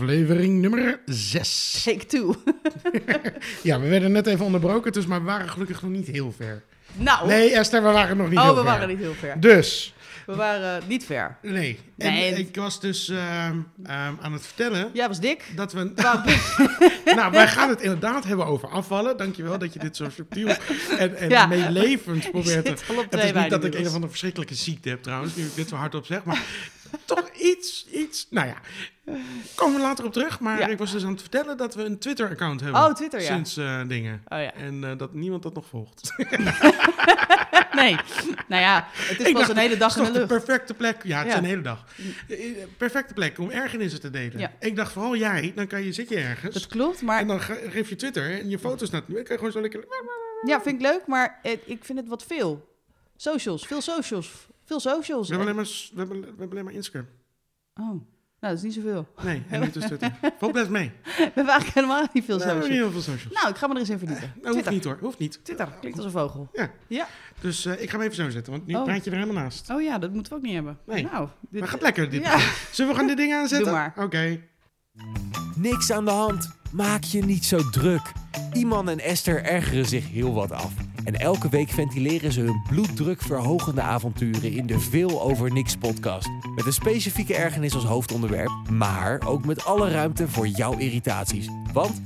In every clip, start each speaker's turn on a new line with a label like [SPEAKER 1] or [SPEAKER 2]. [SPEAKER 1] Aflevering nummer 6.
[SPEAKER 2] Take two.
[SPEAKER 1] Ja, we werden net even onderbroken, dus maar we waren gelukkig nog niet heel ver.
[SPEAKER 2] nou,
[SPEAKER 1] Nee, Esther, we waren nog niet
[SPEAKER 2] oh,
[SPEAKER 1] heel
[SPEAKER 2] we
[SPEAKER 1] ver.
[SPEAKER 2] waren niet heel ver.
[SPEAKER 1] Dus,
[SPEAKER 2] We waren eh, niet ver.
[SPEAKER 1] nee. En
[SPEAKER 2] Nee, het-
[SPEAKER 1] ik was dus ehm, ehm, aan het vertellen
[SPEAKER 2] Jij was dik.
[SPEAKER 1] dat we...
[SPEAKER 2] Waar-
[SPEAKER 1] nou, wij gaan het inderdaad hebben over afvallen. Dankjewel dat je dit zo subtiel en, en
[SPEAKER 2] Ja.
[SPEAKER 1] meelevend probeert te...
[SPEAKER 2] zit al op
[SPEAKER 1] Het
[SPEAKER 2] twee
[SPEAKER 1] is niet
[SPEAKER 2] wijnen
[SPEAKER 1] dat ik een
[SPEAKER 2] inmiddels.
[SPEAKER 1] of andere verschrikkelijke ziekte heb trouwens, nu ik dit zo hardop zeg, maar toch iets, iets, nou ja. Komen we later op terug, maar
[SPEAKER 2] Ja.
[SPEAKER 1] ik was dus aan het vertellen dat we een Twitter-account hebben.
[SPEAKER 2] Oh, Twitter, ja.
[SPEAKER 1] Sinds eh, dingen.
[SPEAKER 2] Oh ja.
[SPEAKER 1] En eh, dat niemand dat nog volgt.
[SPEAKER 2] Nee. Nou ja, het is
[SPEAKER 1] Ik
[SPEAKER 2] pas
[SPEAKER 1] dacht,
[SPEAKER 2] een hele
[SPEAKER 1] Dat is
[SPEAKER 2] dag in de
[SPEAKER 1] toch
[SPEAKER 2] lucht.
[SPEAKER 1] de perfecte plek. Ja, het is
[SPEAKER 2] Ja.
[SPEAKER 1] een hele dag. Eh, Perfecte plek om ergernissen te delen.
[SPEAKER 2] Ja.
[SPEAKER 1] Ik dacht vooral jij, dan kan je, zit je ergens.
[SPEAKER 2] Dat klopt, maar
[SPEAKER 1] En dan ge- geef je Twitter en je foto's naar... Dan kan je gewoon zo lekker...
[SPEAKER 2] ja, vind ik leuk, maar eh, ik vind het wat veel. Socials, veel socials, veel socials.
[SPEAKER 1] We hebben alleen maar, s- we hebben, we hebben alleen maar Instagram.
[SPEAKER 2] Oh, nou, dat is niet zoveel.
[SPEAKER 1] Nee, en niet dus Twitter. Valt best mee. Nee,
[SPEAKER 2] We hebben eigenlijk helemaal niet
[SPEAKER 1] We
[SPEAKER 2] veel
[SPEAKER 1] hebben
[SPEAKER 2] socials.
[SPEAKER 1] niet heel veel socials.
[SPEAKER 2] Nou, ik ga me er eens in verdiepen.
[SPEAKER 1] Nou, hoeft
[SPEAKER 2] Twitter.
[SPEAKER 1] niet hoor, hoeft niet.
[SPEAKER 2] Twitter, klinkt als een vogel.
[SPEAKER 1] Ja.
[SPEAKER 2] Ja.
[SPEAKER 1] Dus eh, ik ga hem even zo zetten, want nu
[SPEAKER 2] Oh.
[SPEAKER 1] praat je er helemaal naast.
[SPEAKER 2] Oh ja, dat moeten we ook niet hebben.
[SPEAKER 1] Nee.
[SPEAKER 2] Nou, dit,
[SPEAKER 1] Maar gaat lekker dit.
[SPEAKER 2] Ja.
[SPEAKER 1] Zullen we gaan dit ding aanzetten?
[SPEAKER 2] Doe maar.
[SPEAKER 1] Oké.
[SPEAKER 3] Niks aan de hand. Maak je niet zo druk. Iman en Esther ergeren zich heel wat af. En elke week ventileren ze hun bloeddrukverhogende avonturen in de Veel Over Niks podcast. Met een specifieke ergernis als hoofdonderwerp, maar ook met alle ruimte voor jouw irritaties. Want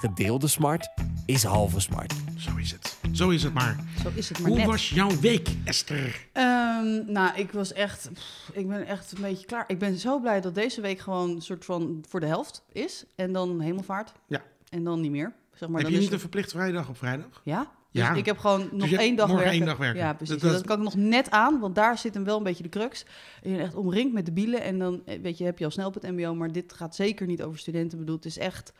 [SPEAKER 3] gedeelde smart is halve smart.
[SPEAKER 1] Zo is het. Zo is het maar.
[SPEAKER 2] Zo is het maar
[SPEAKER 1] Hoe
[SPEAKER 2] net.
[SPEAKER 1] was jouw week, Esther?
[SPEAKER 2] Ehm, nou, ik was echt. pff, ik ben echt een beetje klaar. Ik ben zo blij dat deze week gewoon een soort van voor de helft is. En dan hemelvaart.
[SPEAKER 1] Ja.
[SPEAKER 2] En dan niet meer. Zeg maar,
[SPEAKER 1] Heb je
[SPEAKER 2] dan is
[SPEAKER 1] niet een
[SPEAKER 2] het-
[SPEAKER 1] verplicht vrijdag op vrijdag?
[SPEAKER 2] Ja?
[SPEAKER 1] Ja.
[SPEAKER 2] Dus ik heb gewoon nog
[SPEAKER 1] je hebt
[SPEAKER 2] één dag
[SPEAKER 1] morgen
[SPEAKER 2] werken.
[SPEAKER 1] één dag werken.
[SPEAKER 2] Ja, precies.
[SPEAKER 1] Dat-
[SPEAKER 2] Dat,
[SPEAKER 1] dat-
[SPEAKER 2] kan ik nog net aan, want daar zit hem wel een beetje de crux. Je bent echt omringd met de bielen. En dan eh, weet je, heb je al snel op het mbo. Maar dit gaat zeker niet over studenten bedoeld. Het is echt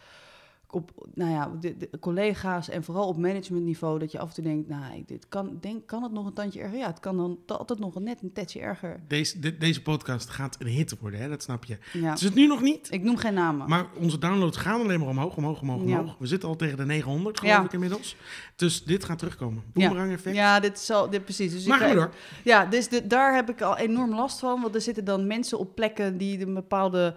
[SPEAKER 2] op nou ja, de, de collega's en vooral op managementniveau... dat je af en toe denkt, nou, ik- dit kan, denk, kan het nog een tandje erger? Ja, het kan dan altijd nog net een tetje erger.
[SPEAKER 1] Deze, de- deze podcast gaat een hit worden, hè? dat snap je.
[SPEAKER 2] Ja.
[SPEAKER 1] Het is Dus het nu nog niet,
[SPEAKER 2] Ik noem geen namen.
[SPEAKER 1] maar onze downloads gaan alleen maar omhoog, omhoog, omhoog,
[SPEAKER 2] Ja.
[SPEAKER 1] omhoog. We zitten al tegen de 900, geloof
[SPEAKER 2] Ja.
[SPEAKER 1] ik inmiddels. Dus dit gaat terugkomen.
[SPEAKER 2] Ja.
[SPEAKER 1] Boomerang effect.
[SPEAKER 2] ja, dit zal, dit precies. Dus ik
[SPEAKER 1] Maar
[SPEAKER 2] ga-
[SPEAKER 1] goed hoor.
[SPEAKER 2] Ja, dus de- daar heb ik al enorm last van. Want er zitten dan mensen op plekken die een bepaalde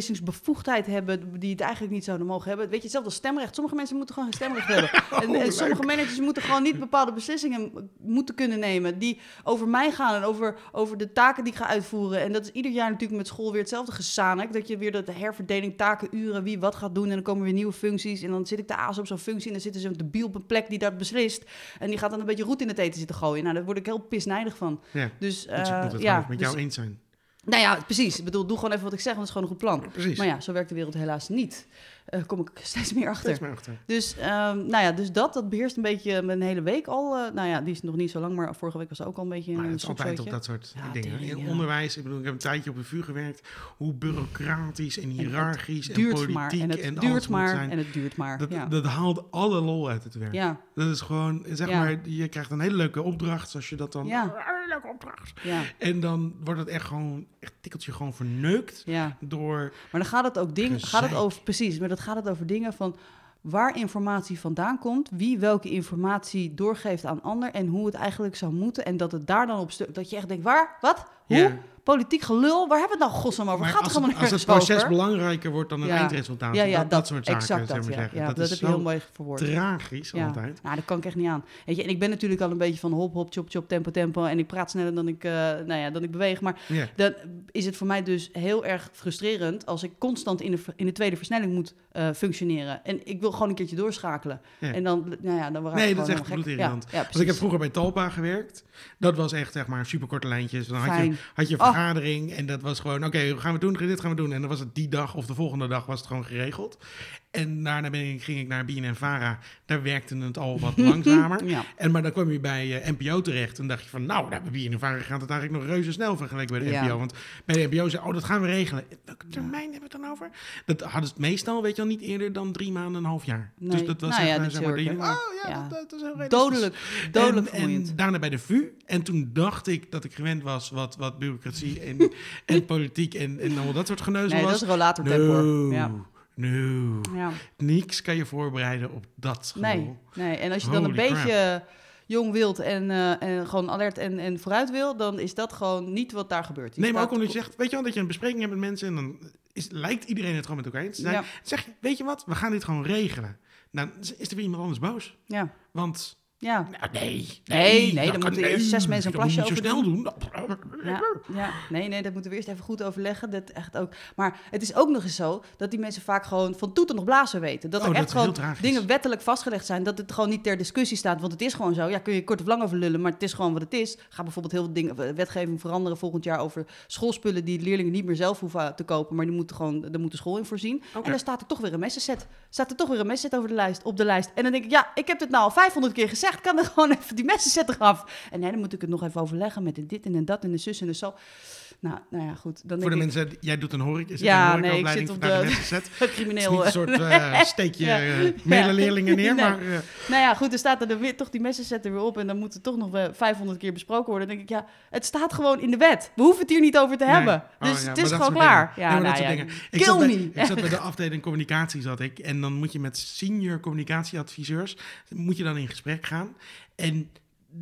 [SPEAKER 2] beslissingsbevoegdheid hebben. die het eigenlijk niet zouden mogen hebben. Weet je, hetzelfde als stemrecht. Sommige mensen moeten gewoon geen stemrecht hebben. En, en sommige managers moeten gewoon niet bepaalde beslissingen moeten kunnen nemen. die over mij gaan en over, over de taken die ik ga uitvoeren. En dat is ieder jaar natuurlijk met school weer hetzelfde gezanik. Dat je weer dat herverdeling taken, uren, wie wat gaat doen. En dan komen weer nieuwe functies. En dan zit ik te aas op zo'n functie. En dan zitten ze op de biel op een plek die dat beslist. En die gaat dan een beetje roet in het eten zitten gooien. Nou, daar word ik heel pisnijdig van.
[SPEAKER 1] Ja.
[SPEAKER 2] Dus eh,
[SPEAKER 1] Dus ik moet het
[SPEAKER 2] ja,
[SPEAKER 1] gewoon met
[SPEAKER 2] dus-
[SPEAKER 1] jou eens zijn.
[SPEAKER 2] nou ja, precies. Ik bedoel, doe gewoon even wat ik zeg, want het is gewoon een goed plan.
[SPEAKER 1] Precies.
[SPEAKER 2] Maar ja, zo werkt de wereld helaas niet. Eh kom ik steeds meer achter.
[SPEAKER 1] Steeds maar achter.
[SPEAKER 2] Dus, ehm, nou ja, dus dat, dat beheerst een beetje mijn hele week al. eh, nou ja, die is nog niet zo lang, maar vorige week was ze ook al een beetje
[SPEAKER 1] Maar
[SPEAKER 2] een
[SPEAKER 1] Nou het is altijd op
[SPEAKER 2] soepzootje.
[SPEAKER 1] dat soort
[SPEAKER 2] Ja,
[SPEAKER 1] dingen.
[SPEAKER 2] tering,
[SPEAKER 1] In
[SPEAKER 2] ja.
[SPEAKER 1] onderwijs, ik bedoel, ik heb een tijdje op een vuur gewerkt. Hoe bureaucratisch en hiërarchisch en,
[SPEAKER 2] duurt
[SPEAKER 1] politiek
[SPEAKER 2] maar en het
[SPEAKER 1] alles
[SPEAKER 2] duurt
[SPEAKER 1] moet
[SPEAKER 2] maar
[SPEAKER 1] zijn.
[SPEAKER 2] en het duurt maar.
[SPEAKER 1] dat,
[SPEAKER 2] ja.
[SPEAKER 1] dat haalt alle lol uit het werk.
[SPEAKER 2] ja,
[SPEAKER 1] Dat is gewoon, zeg
[SPEAKER 2] Ja.
[SPEAKER 1] maar, je krijgt een hele leuke opdracht, zoals je dat dan...
[SPEAKER 2] Ja.
[SPEAKER 1] Oh, een leuke opdracht.
[SPEAKER 2] ja,
[SPEAKER 1] En dan wordt het echt gewoon, echt tikkeltje gewoon verneukt
[SPEAKER 2] ja.
[SPEAKER 1] door...
[SPEAKER 2] Maar dan gaat het ook dingen, gaat het
[SPEAKER 1] Gezeik.
[SPEAKER 2] over, precies, maar dat gaat het over dingen van waar informatie vandaan komt, wie welke informatie doorgeeft aan ander en hoe het eigenlijk zou moeten. En dat het daar dan op stuk, dat je echt denkt, waar, wat, hoe?
[SPEAKER 1] Ja.
[SPEAKER 2] Politiek gelul, waar hebben we het nou godsnaam over?
[SPEAKER 1] Maar
[SPEAKER 2] gaat
[SPEAKER 1] als
[SPEAKER 2] het
[SPEAKER 1] het,
[SPEAKER 2] helemaal
[SPEAKER 1] als het
[SPEAKER 2] nergens
[SPEAKER 1] proces
[SPEAKER 2] over?
[SPEAKER 1] belangrijker wordt dan het
[SPEAKER 2] Ja.
[SPEAKER 1] eindresultaat.
[SPEAKER 2] Ja, ja,
[SPEAKER 1] dat, dat, soort zaken,
[SPEAKER 2] exact
[SPEAKER 1] zou ik
[SPEAKER 2] dat,
[SPEAKER 1] maar
[SPEAKER 2] ja.
[SPEAKER 1] zeggen.
[SPEAKER 2] Ja,
[SPEAKER 1] dat,
[SPEAKER 2] dat
[SPEAKER 1] is
[SPEAKER 2] heb je heel
[SPEAKER 1] zo
[SPEAKER 2] mooi verwoord.
[SPEAKER 1] tragisch
[SPEAKER 2] Ja,
[SPEAKER 1] altijd.
[SPEAKER 2] nou, dat kan ik echt niet aan. Weet je, en ik ben natuurlijk al een beetje van hop, hop, chop, chop, tempo, tempo. En ik praat sneller dan ik, eh, nou ja, dan ik beweeg. Maar
[SPEAKER 1] Ja.
[SPEAKER 2] dan is het voor mij dus heel erg frustrerend als ik constant in de, in de tweede versnelling moet eh, functioneren. En ik wil gewoon een keertje doorschakelen.
[SPEAKER 1] Ja.
[SPEAKER 2] En dan, nou ja, dan raak ik
[SPEAKER 1] Nee, dat
[SPEAKER 2] gewoon
[SPEAKER 1] is echt
[SPEAKER 2] helemaal gek.
[SPEAKER 1] bloedirritant.
[SPEAKER 2] Ja, ja,
[SPEAKER 1] Want ik heb
[SPEAKER 2] precies.
[SPEAKER 1] vroeger bij Talpa gewerkt. Dat was echt, zeg maar, superkorte lijntjes. Dan had je,
[SPEAKER 2] Fijn.
[SPEAKER 1] had je een
[SPEAKER 2] Oh.
[SPEAKER 1] vergadering en dat was gewoon... Oké, hoe gaan we doen? Dit gaan we doen. En dan was het die dag of de volgende dag was het gewoon geregeld. En daarna ben ik, ging ik naar BNNVARA. Daar werkte het al wat langzamer.
[SPEAKER 2] Ja.
[SPEAKER 1] En, maar dan kwam je bij eh, NPO terecht en dacht je van... Nou, nou, bij BNNVARA gaat het eigenlijk nog reuze snel vergeleken bij de
[SPEAKER 2] Ja.
[SPEAKER 1] NPO. Want bij de NPO zei, oh, dat gaan we regelen. Welke termijn hebben we het dan over? Dat hadden ze meestal, weet je wel, niet eerder dan drie maanden en een half jaar.
[SPEAKER 2] Nee.
[SPEAKER 1] Dus dat was
[SPEAKER 2] Nou
[SPEAKER 1] echt,
[SPEAKER 2] ja,
[SPEAKER 1] eh,
[SPEAKER 2] dit
[SPEAKER 1] zeg maar,
[SPEAKER 2] is heel
[SPEAKER 1] dat je
[SPEAKER 2] erg,
[SPEAKER 1] denkt, oh ja,
[SPEAKER 2] ja.
[SPEAKER 1] Dat, dat is heel realistisch.
[SPEAKER 2] Dodelijk, dodelijk
[SPEAKER 1] en,
[SPEAKER 2] vermoeiend.
[SPEAKER 1] en daarna bij de VU. En toen dacht ik dat ik gewend was wat, wat bureaucratie en, en politiek en, en allemaal dat soort geneuzel
[SPEAKER 2] nee, dat
[SPEAKER 1] was.
[SPEAKER 2] is rollator
[SPEAKER 1] no,
[SPEAKER 2] tempo. Ja.
[SPEAKER 1] no.
[SPEAKER 2] Ja.
[SPEAKER 1] Niks kan je voorbereiden op dat gedoe.
[SPEAKER 2] Nee, nee, en als je dan een
[SPEAKER 1] Holy crap.
[SPEAKER 2] beetje jong wilt en, eh, en gewoon alert en, en vooruit wil, dan is dat gewoon niet wat daar gebeurt. Je
[SPEAKER 1] Nee, maar ook
[SPEAKER 2] staat-
[SPEAKER 1] omdat je zegt, weet je wel, dat je een bespreking hebt met mensen en dan is, lijkt iedereen het gewoon met elkaar eens te zijn.
[SPEAKER 2] Ja.
[SPEAKER 1] Zeg je, weet je wat, we gaan dit gewoon regelen. Dan is is er weer iemand anders boos.
[SPEAKER 2] Ja.
[SPEAKER 1] Want
[SPEAKER 2] Ja.
[SPEAKER 1] nou, nee,
[SPEAKER 2] Nee, nee, dan
[SPEAKER 1] kan-
[SPEAKER 2] moeten eerst zes mensen een
[SPEAKER 1] dat moet je
[SPEAKER 2] plasje
[SPEAKER 1] niet zo snel doen. Nou,
[SPEAKER 2] Ja, ja, nee, nee, dat moeten we eerst even goed overleggen. Dat echt ook. Maar het is ook nog eens zo dat die mensen vaak gewoon van toeten nog blazen weten. Dat
[SPEAKER 1] Oh,
[SPEAKER 2] er
[SPEAKER 1] dat
[SPEAKER 2] echt
[SPEAKER 1] is heel
[SPEAKER 2] gewoon
[SPEAKER 1] tragisch.
[SPEAKER 2] dingen wettelijk vastgelegd zijn, dat het gewoon niet ter discussie staat. Want het is gewoon zo. Ja, kun je kort of lang over lullen, maar het is gewoon wat het is. Ga bijvoorbeeld heel veel dingen, wetgeving veranderen volgend jaar over schoolspullen die leerlingen niet meer zelf hoeven te kopen, maar die moeten gewoon, daar moet de school in voorzien.
[SPEAKER 1] Oké.
[SPEAKER 2] En dan staat er toch weer een messenset. Staat er toch weer een messenset over de lijst, op de lijst. En dan denk ik, ja, ik heb dit nou al 500 keer gezegd, kan er gewoon even die messenset eraf. En nee, dan moet ik het nog even overleggen met de dit en de dat en de zus en de zo. Nou, nou ja, goed. Dan
[SPEAKER 1] Voor de
[SPEAKER 2] denk ik,
[SPEAKER 1] mensen, die- jij doet een horeca, is
[SPEAKER 2] Ja,
[SPEAKER 1] ja, een
[SPEAKER 2] nee, ik
[SPEAKER 1] horecaopleiding
[SPEAKER 2] zit op
[SPEAKER 1] vandaag
[SPEAKER 2] de-
[SPEAKER 1] de mensen zet.
[SPEAKER 2] het
[SPEAKER 1] Het is
[SPEAKER 2] crimineel.
[SPEAKER 1] niet een
[SPEAKER 2] eh,
[SPEAKER 1] soort eh, steekje
[SPEAKER 2] Ja.
[SPEAKER 1] eh, mede
[SPEAKER 2] Ja.
[SPEAKER 1] leerlingen neer,
[SPEAKER 2] Nee.
[SPEAKER 1] maar... eh,
[SPEAKER 2] Nou ja, goed, dan staat er dan weer, toch die messenset er weer op en dan moet het toch nog wel 500 keer besproken worden. Dan denk ik, ja, het staat gewoon in de wet. We hoeven het hier niet over te hebben.
[SPEAKER 1] Nee.
[SPEAKER 2] Dus
[SPEAKER 1] Oh, ja,
[SPEAKER 2] het
[SPEAKER 1] maar
[SPEAKER 2] is
[SPEAKER 1] dat
[SPEAKER 2] gewoon
[SPEAKER 1] soort
[SPEAKER 2] klaar. nou
[SPEAKER 1] dingen. Nee, maar dat soort dingen. Ik
[SPEAKER 2] Kill
[SPEAKER 1] zat, bij,
[SPEAKER 2] me.
[SPEAKER 1] ik zat bij de afdeling communicatie zat ik. En dan moet je met senior communicatieadviseurs moet je dan in gesprek gaan. En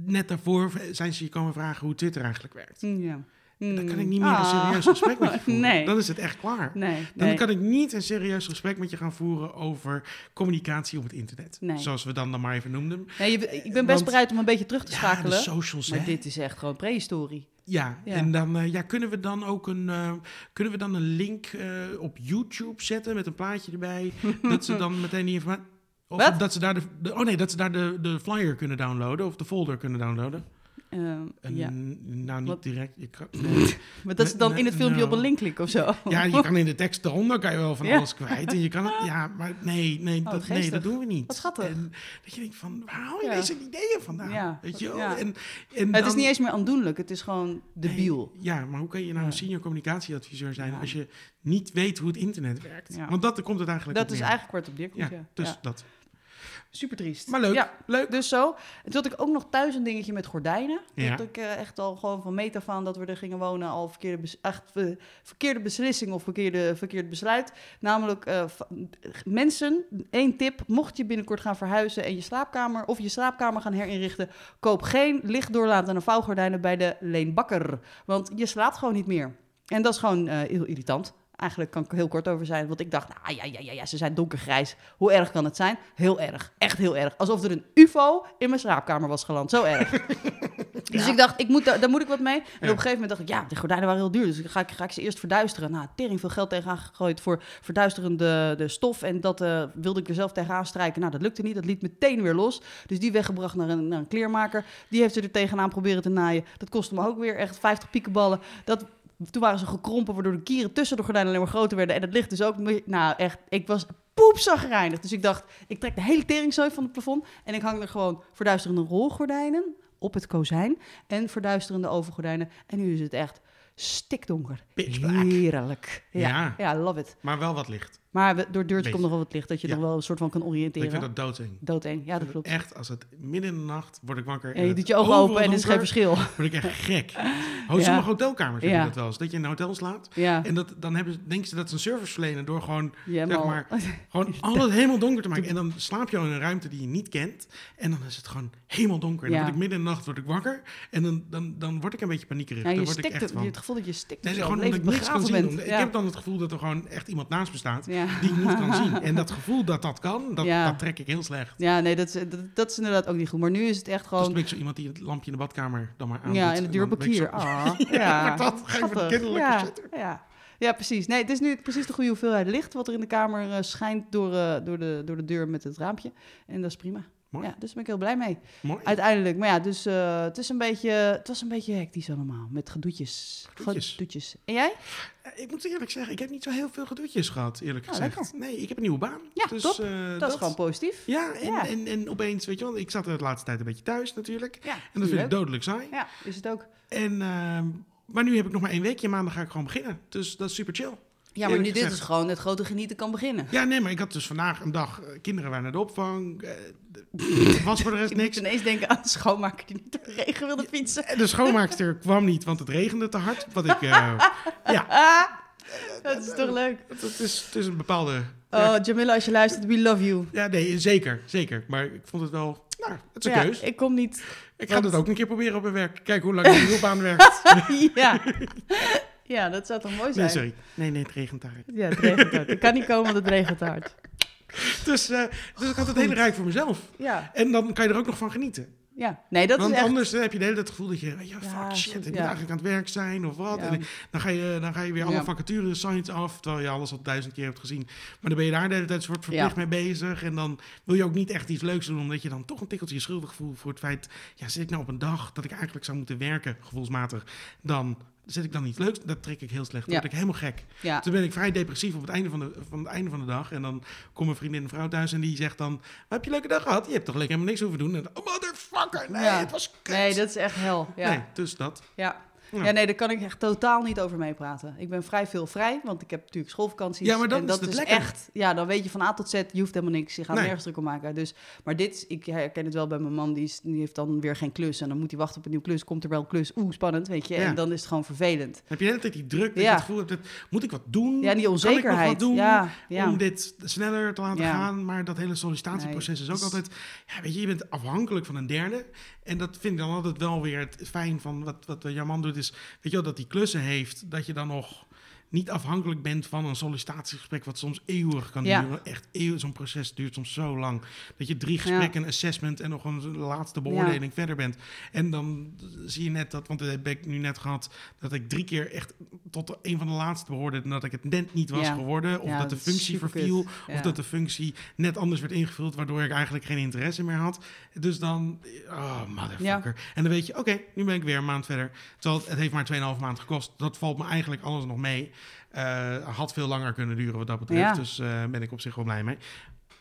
[SPEAKER 1] net daarvoor zijn ze je komen vragen hoe Twitter eigenlijk werkt.
[SPEAKER 2] Ja.
[SPEAKER 1] Dan kan ik
[SPEAKER 2] Mm.
[SPEAKER 1] niet meer een
[SPEAKER 2] Ah.
[SPEAKER 1] serieus gesprek met je voeren.
[SPEAKER 2] Nee.
[SPEAKER 1] Dan is het echt klaar.
[SPEAKER 2] Nee,
[SPEAKER 1] Dan
[SPEAKER 2] nee.
[SPEAKER 1] kan ik niet een serieus gesprek met je gaan voeren over communicatie op het internet.
[SPEAKER 2] Nee.
[SPEAKER 1] Zoals we dan dan maar even noemden.
[SPEAKER 2] Nee, je- ik ben best
[SPEAKER 1] Want-
[SPEAKER 2] bereid om een beetje terug te
[SPEAKER 1] Ja, de
[SPEAKER 2] schakelen.
[SPEAKER 1] socials,
[SPEAKER 2] maar
[SPEAKER 1] hè.
[SPEAKER 2] dit is echt gewoon prehistorie.
[SPEAKER 1] Ja,
[SPEAKER 2] Ja.
[SPEAKER 1] en dan eh, ja, kunnen we dan ook een, eh, kunnen we dan een link eh, op YouTube zetten met een plaatje erbij. dat ze dan meteen die informatie. Of
[SPEAKER 2] Wat?
[SPEAKER 1] dat ze daar, de, de- oh nee, dat ze daar de, de flyer kunnen downloaden of de folder kunnen downloaden.
[SPEAKER 2] Ehm,
[SPEAKER 1] En,
[SPEAKER 2] ja.
[SPEAKER 1] Nou, niet
[SPEAKER 2] Wat?
[SPEAKER 1] direct. Je kan,
[SPEAKER 2] Maar dat ze dan in het filmpje
[SPEAKER 1] nou,
[SPEAKER 2] op een link klikken of zo.
[SPEAKER 1] ja, je kan in de tekst eronder kan je wel van
[SPEAKER 2] Ja.
[SPEAKER 1] alles kwijt. En je kan het, ja, maar nee, nee,
[SPEAKER 2] wat
[SPEAKER 1] dat, nee,
[SPEAKER 2] geestig.
[SPEAKER 1] dat doen we niet.
[SPEAKER 2] Wat schattig.
[SPEAKER 1] En dat je denkt van, waar haal je
[SPEAKER 2] Ja.
[SPEAKER 1] deze ideeën vandaan?
[SPEAKER 2] Ja,
[SPEAKER 1] Weet je wel?
[SPEAKER 2] ja.
[SPEAKER 1] En, en
[SPEAKER 2] Het is
[SPEAKER 1] dan-
[SPEAKER 2] niet eens meer aandoenlijk, het is gewoon debiel.
[SPEAKER 1] Nee, ja, maar hoe kan je nou
[SPEAKER 2] Ja.
[SPEAKER 1] een senior communicatieadviseur zijn
[SPEAKER 2] Ja.
[SPEAKER 1] als je niet weet hoe het internet werkt?
[SPEAKER 2] Ja.
[SPEAKER 1] Want dat komt het eigenlijk
[SPEAKER 2] Dat
[SPEAKER 1] op
[SPEAKER 2] is
[SPEAKER 1] neer.
[SPEAKER 2] eigenlijk waar het op neerkomt, ja.
[SPEAKER 1] Ja, dus
[SPEAKER 2] Ja.
[SPEAKER 1] dat.
[SPEAKER 2] Super triest.
[SPEAKER 1] Maar leuk,
[SPEAKER 2] Ja,
[SPEAKER 1] leuk.
[SPEAKER 2] dus zo. En toen had ik ook nog thuis een dingetje met gordijnen.
[SPEAKER 1] Ja.
[SPEAKER 2] Dat ik eh, echt al gewoon van meet af aan dat we er gingen wonen al verkeerde, bes- echt, eh, verkeerde beslissing of verkeerde, verkeerd besluit. Namelijk, eh, va- mensen, één tip. Mocht je binnenkort gaan verhuizen en je slaapkamer of je slaapkamer gaan herinrichten, koop geen lichtdoorlatende vouwgordijnen bij de leenbakker. Want je slaapt gewoon niet meer. En dat is gewoon eh, heel irritant. Eigenlijk kan ik er heel kort over zijn. Want ik dacht, nou ja, ja, ja, ja, ze zijn donkergrijs. Hoe erg kan het zijn? Heel erg. Echt heel erg. Alsof er een UFO in mijn slaapkamer was geland. Zo erg. Dus ik dacht, ik moet, daar, daar moet ik wat mee. En op een gegeven moment dacht ik, ja, de gordijnen waren heel duur. Dus ga ik, ga ik ze eerst verduisteren. Nou, tering veel geld tegenaan gegooid voor verduisterende de stof. En dat eh, wilde ik er zelf tegenaan strijken. Nou, dat lukte niet. Dat liet meteen weer los. Dus die weggebracht naar een, naar een kleermaker. Die heeft ze er tegenaan proberen te naaien. Dat kostte me ook weer echt 50 piekenballen. Dat, toen waren ze gekrompen, waardoor de kieren tussen de gordijnen alleen maar groter werden. En het licht dus ook... meer- Nou, echt, ik was poepzagrijnig. Dus ik dacht, ik trek de hele teringzooi van het plafond... en ik hang er gewoon verduisterende rolgordijnen op het kozijn... en verduisterende overgordijnen. En nu is het echt stikdonker.
[SPEAKER 1] Pitch black.
[SPEAKER 2] Heerlijk. Ja, ja.
[SPEAKER 1] Ja.
[SPEAKER 2] love it.
[SPEAKER 1] Maar wel wat licht.
[SPEAKER 2] Maar we- door deurtje
[SPEAKER 1] Beetje.
[SPEAKER 2] komt nog wel wat licht... dat je
[SPEAKER 1] Ja.
[SPEAKER 2] dan wel een soort van kan
[SPEAKER 1] Want Ik vind
[SPEAKER 2] oriënteren.
[SPEAKER 1] dat doodeng.
[SPEAKER 2] Doodeng, ja,
[SPEAKER 1] Ik
[SPEAKER 2] dat
[SPEAKER 1] vind
[SPEAKER 2] klopt.
[SPEAKER 1] Echt, als het midden in de nacht word ik wakker.
[SPEAKER 2] Ja,
[SPEAKER 1] en
[SPEAKER 2] je
[SPEAKER 1] het
[SPEAKER 2] doet je ogen
[SPEAKER 1] overal
[SPEAKER 2] open en er is geen
[SPEAKER 1] donker,
[SPEAKER 2] verschil.
[SPEAKER 1] Word ik echt gek. Ho, Sommige hotelkamers
[SPEAKER 2] Ja.
[SPEAKER 1] hebben dat wel eens. Dat je in een hotel slaapt.
[SPEAKER 2] Ja,
[SPEAKER 1] En dat, dan hebben, ze- denken ze dat ze een service verlenen door gewoon,
[SPEAKER 2] ja
[SPEAKER 1] zeg
[SPEAKER 2] maar.
[SPEAKER 1] maar, gewoon alles helemaal donker te maken. En dan slaap je al in een ruimte die je niet kent. En dan is het gewoon helemaal donker. En dan
[SPEAKER 2] Ja.
[SPEAKER 1] word ik midden in de nacht word ik wakker. En dan, dan, dan word ik een beetje paniekerig.
[SPEAKER 2] Ja,
[SPEAKER 1] dan
[SPEAKER 2] je
[SPEAKER 1] word ik
[SPEAKER 2] stikt
[SPEAKER 1] echt
[SPEAKER 2] het,
[SPEAKER 1] van...
[SPEAKER 2] het gevoel dat je stikt.
[SPEAKER 1] Nee,
[SPEAKER 2] of zo,
[SPEAKER 1] gewoon omdat ik
[SPEAKER 2] levend
[SPEAKER 1] niks kan
[SPEAKER 2] begraven
[SPEAKER 1] zien.
[SPEAKER 2] bent.
[SPEAKER 1] Omdat-
[SPEAKER 2] Ja.
[SPEAKER 1] Ik heb dan het gevoel dat er gewoon echt iemand naast me staat
[SPEAKER 2] Ja.
[SPEAKER 1] die ik niet kan zien. En dat gevoel dat dat kan, dat,
[SPEAKER 2] Ja.
[SPEAKER 1] dat trek ik heel slecht.
[SPEAKER 2] Ja, nee, dat is, dat, dat is inderdaad ook niet goed. Maar nu is het echt
[SPEAKER 1] Dus dan
[SPEAKER 2] gewoon...
[SPEAKER 1] ben ik zo iemand die het lampje in de badkamer dan maar aan
[SPEAKER 2] ja,
[SPEAKER 1] doet.
[SPEAKER 2] en het duurt
[SPEAKER 1] dan ben ik zo-
[SPEAKER 2] parkier. Ah, ja,
[SPEAKER 1] maar dat geeft een
[SPEAKER 2] Schattig.
[SPEAKER 1] kinderlijke
[SPEAKER 2] ja,
[SPEAKER 1] shit.
[SPEAKER 2] Ja. ja, precies. Nee, het is nu precies de goede hoeveelheid licht... wat er in de kamer eh, schijnt door, eh, door, de, door de deur met het raampje. En dat is prima.
[SPEAKER 1] Mooi.
[SPEAKER 2] Ja, dus daar ben ik heel blij mee.
[SPEAKER 1] Mooi.
[SPEAKER 2] Uiteindelijk. Maar ja, dus eh, het, is een beetje, het was een beetje hectisch allemaal. Met gedoetjes.
[SPEAKER 1] Gedoetjes.
[SPEAKER 2] En jij?
[SPEAKER 1] Eh, Ik moet eerlijk zeggen, ik heb niet zo heel veel gedoetjes gehad, eerlijk
[SPEAKER 2] Ah,
[SPEAKER 1] gezegd.
[SPEAKER 2] lekker.
[SPEAKER 1] Nee, ik heb een nieuwe baan.
[SPEAKER 2] Ja,
[SPEAKER 1] dus,
[SPEAKER 2] top.
[SPEAKER 1] eh,
[SPEAKER 2] Dat, is gewoon positief.
[SPEAKER 1] Ja en,
[SPEAKER 2] Ja.
[SPEAKER 1] En, en opeens, weet je wel, ik zat de laatste tijd een beetje thuis natuurlijk.
[SPEAKER 2] Ja,
[SPEAKER 1] En dat vind ik
[SPEAKER 2] leuk.
[SPEAKER 1] dodelijk saai.
[SPEAKER 2] Ja, is het ook.
[SPEAKER 1] En, ehm, maar nu heb ik nog maar één weekje, maandag ga ik gewoon beginnen. Dus dat is super chill.
[SPEAKER 2] Ja, maar
[SPEAKER 1] Eerlijk
[SPEAKER 2] nu dit
[SPEAKER 1] gezegd.
[SPEAKER 2] is gewoon het grote genieten kan beginnen.
[SPEAKER 1] Ja, nee, maar ik had dus vandaag een dag... eh, kinderen waren naar de opvang. eh, Er was voor de rest
[SPEAKER 2] Ik moet
[SPEAKER 1] niks. Eh,
[SPEAKER 2] ineens denken aan de schoonmaker die niet door de regen wilde fietsen.
[SPEAKER 1] De schoonmaakster kwam niet, want het regende te hard. Wat ik... eh, ja,
[SPEAKER 2] Ah, dat is toch leuk.
[SPEAKER 1] het, het is, het is een bepaalde...
[SPEAKER 2] Oh, Jamila, als je luistert, we love you.
[SPEAKER 1] Ja, nee, zeker, zeker. Maar ik vond het wel... Nou, het is een
[SPEAKER 2] ja,
[SPEAKER 1] keus.
[SPEAKER 2] ik kom niet.
[SPEAKER 1] Ik ga
[SPEAKER 2] want-
[SPEAKER 1] dat ook een keer proberen op mijn werk. Kijken hoe lang ik op aan werkt.
[SPEAKER 2] ja. Ja, dat zou toch mooi zijn?
[SPEAKER 1] Nee, sorry. Nee, nee, het regent daar.
[SPEAKER 2] Ja, het regent hard. Ik kan niet komen, want het regent hard.
[SPEAKER 1] Dus, eh, dus ik had het hele rijk voor mezelf.
[SPEAKER 2] Ja,
[SPEAKER 1] En dan kan je er ook nog van genieten.
[SPEAKER 2] ja. Nee, dat
[SPEAKER 1] Want
[SPEAKER 2] is echt...
[SPEAKER 1] anders eh, heb je de hele tijd het gevoel dat je, weet je, fuck
[SPEAKER 2] Ja,
[SPEAKER 1] shit, ik moet
[SPEAKER 2] ja.
[SPEAKER 1] eigenlijk aan het werk zijn of wat.
[SPEAKER 2] Ja.
[SPEAKER 1] En dan ga je, eh, dan ga je weer alle
[SPEAKER 2] Ja.
[SPEAKER 1] vacature signs af, terwijl je alles al duizend keer hebt gezien. Maar dan ben je daar de hele tijd soort verplicht
[SPEAKER 2] Ja.
[SPEAKER 1] mee bezig. En dan wil je ook niet echt iets leuks doen, omdat je dan toch een tikkeltje je schuldig voelt voor het feit, ja, zit ik nou op een dag dat ik eigenlijk zou moeten werken, gevoelsmatig, dan zit ik dan iets leuks. Dat trek ik heel slecht, dat
[SPEAKER 2] Ja.
[SPEAKER 1] word ik helemaal gek.
[SPEAKER 2] Ja,
[SPEAKER 1] Toen ben ik vrij depressief op het einde van de, van het einde van de dag. En dan komt mijn vriendin en vrouw thuis en die zegt dan... "Maar heb je een leuke dag gehad? Je hebt toch lekker helemaal niks hoeven doen? En dan, oh, motherfucker, nee,
[SPEAKER 2] Ja.
[SPEAKER 1] het was kut.
[SPEAKER 2] nee, dat is echt hel. Ja.
[SPEAKER 1] Nee, dus dat.
[SPEAKER 2] Ja.
[SPEAKER 1] Ja.
[SPEAKER 2] Ja. nee, daar kan ik echt totaal niet over meepraten. Ik ben vrij veel vrij, want ik heb natuurlijk schoolvakanties.
[SPEAKER 1] Ja, maar dan
[SPEAKER 2] en
[SPEAKER 1] is
[SPEAKER 2] dat
[SPEAKER 1] het
[SPEAKER 2] is
[SPEAKER 1] lekker.
[SPEAKER 2] echt. Ja, dan weet je van A tot Z, je hoeft helemaal niks. Je gaat
[SPEAKER 1] Nee.
[SPEAKER 2] nergens druk om maken. Dus, maar dit, is- ik herken het wel bij mijn man, die, is, die heeft dan weer geen klus. En dan moet hij wachten op een nieuwe klus. Komt er wel een klus? Oeh, spannend, weet je.
[SPEAKER 1] Ja.
[SPEAKER 2] En dan is het gewoon vervelend.
[SPEAKER 1] Dan heb je de hele tijd die druk, dat je
[SPEAKER 2] Ja.
[SPEAKER 1] het gevoel hebt... dat, moet ik wat doen?
[SPEAKER 2] Ja, die
[SPEAKER 1] Mm. Kan ik nog
[SPEAKER 2] onzekerheid.
[SPEAKER 1] wat doen
[SPEAKER 2] ja, ja.
[SPEAKER 1] om dit sneller te laten
[SPEAKER 2] Ja.
[SPEAKER 1] gaan? Maar dat hele sollicitatieproces
[SPEAKER 2] Nee,
[SPEAKER 1] is ook
[SPEAKER 2] dus-
[SPEAKER 1] altijd... Ja, weet je, je bent afhankelijk van een derde. En dat vind ik dan altijd wel weer het fijn van wat, wat jouw man doet. Is, weet je wel, dat hij klussen heeft, dat je dan nog... Niet afhankelijk bent van een sollicitatiegesprek, wat soms eeuwig kan
[SPEAKER 2] Ja.
[SPEAKER 1] duren. Echt eeuwig, zo'n proces duurt soms zo lang. Dat je drie gesprekken, een assessment en nog een laatste beoordeling verder bent. En dan zie je net dat, want dat heb ik nu net gehad, dat ik drie keer echt tot een van de laatste behoorde. En dat ik het net niet was
[SPEAKER 2] Ja.
[SPEAKER 1] geworden. Of
[SPEAKER 2] Ja,
[SPEAKER 1] dat de
[SPEAKER 2] dat is
[SPEAKER 1] functie
[SPEAKER 2] superkut.
[SPEAKER 1] verviel. Of
[SPEAKER 2] Ja.
[SPEAKER 1] dat de functie net anders werd ingevuld, waardoor ik eigenlijk geen interesse meer had. Dus dan, oh motherfucker. En dan weet je, oké, nu ben ik weer een maand verder. Terwijl het, het heeft maar 2,5 maand gekost. Dat valt me eigenlijk alles nog mee. Eh, had veel langer kunnen duren wat dat betreft.
[SPEAKER 2] Ja.
[SPEAKER 1] Dus eh ben ik op zich wel blij mee.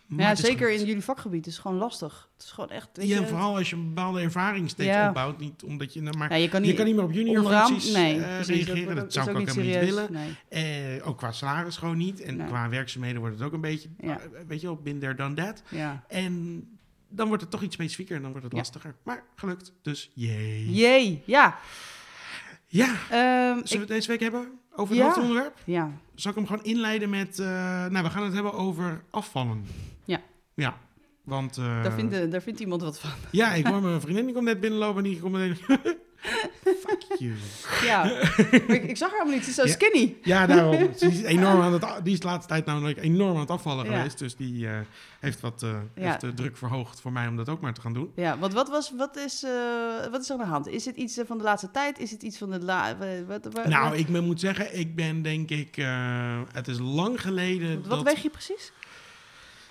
[SPEAKER 1] Maar
[SPEAKER 2] ja,
[SPEAKER 1] het is
[SPEAKER 2] zeker
[SPEAKER 1] gelukt.
[SPEAKER 2] in jullie vakgebied. Het is gewoon lastig. Het is gewoon echt... weet
[SPEAKER 1] Ja,
[SPEAKER 2] je,
[SPEAKER 1] en vooral als je een bepaalde ervaring steeds
[SPEAKER 2] Ja.
[SPEAKER 1] opbouwt. Niet omdat je, maar
[SPEAKER 2] Ja, je kan
[SPEAKER 1] je kan niet meer op junior
[SPEAKER 2] onderaan-
[SPEAKER 1] functies
[SPEAKER 2] nee,
[SPEAKER 1] eh,
[SPEAKER 2] precies,
[SPEAKER 1] reageren.
[SPEAKER 2] wordt
[SPEAKER 1] Dat, zou ik ook
[SPEAKER 2] is
[SPEAKER 1] helemaal niet
[SPEAKER 2] serieus.
[SPEAKER 1] willen.
[SPEAKER 2] Nee.
[SPEAKER 1] Eh, ook qua salaris gewoon niet. En
[SPEAKER 2] Nee.
[SPEAKER 1] qua werkzaamheden wordt het ook een beetje,
[SPEAKER 2] Ja.
[SPEAKER 1] eh, weet je wel, been there, done that.
[SPEAKER 2] Ja.
[SPEAKER 1] En dan wordt het toch iets specifieker en dan wordt het
[SPEAKER 2] Ja.
[SPEAKER 1] lastiger. Maar gelukt, dus jee.
[SPEAKER 2] Jee, ja.
[SPEAKER 1] Ja,
[SPEAKER 2] Ehm,
[SPEAKER 1] zullen we het deze week hebben over het
[SPEAKER 2] Ja.
[SPEAKER 1] hoofdonderwerp?
[SPEAKER 2] ik- ja,
[SPEAKER 1] Zal ik hem gewoon inleiden met, eh, nou, we gaan het hebben over afvallen.
[SPEAKER 2] Ja.
[SPEAKER 1] Ja. Want eh,
[SPEAKER 2] daar, vindt, eh, daar vindt iemand wat van.
[SPEAKER 1] ja, ik hoor mijn vriendin die komt net binnenlopen en die komt meteen. Fuck you.
[SPEAKER 2] Ja, maar ik, ik zag haar helemaal niet. Ze is zo
[SPEAKER 1] Eh. Ja.
[SPEAKER 2] skinny.
[SPEAKER 1] Ja, daarom. Ze is enorm aan het, a- die is de laatste tijd namelijk enorm aan het afvallen
[SPEAKER 2] Ja.
[SPEAKER 1] geweest. Dus die eh, heeft wat eh, heeft de druk verhoogd voor mij om dat ook maar te gaan doen.
[SPEAKER 2] Ja, want wat, was, wat, is, eh, wat is er aan de hand? Is het iets eh, van de laatste tijd? Is het iets van de la... wa- Wat, wa-
[SPEAKER 1] Nou,
[SPEAKER 2] Eh, wat,
[SPEAKER 1] ik me- moet zeggen, ik ben denk ik... eh, het is lang geleden
[SPEAKER 2] wat
[SPEAKER 1] eh, dat...
[SPEAKER 2] weeg je precies?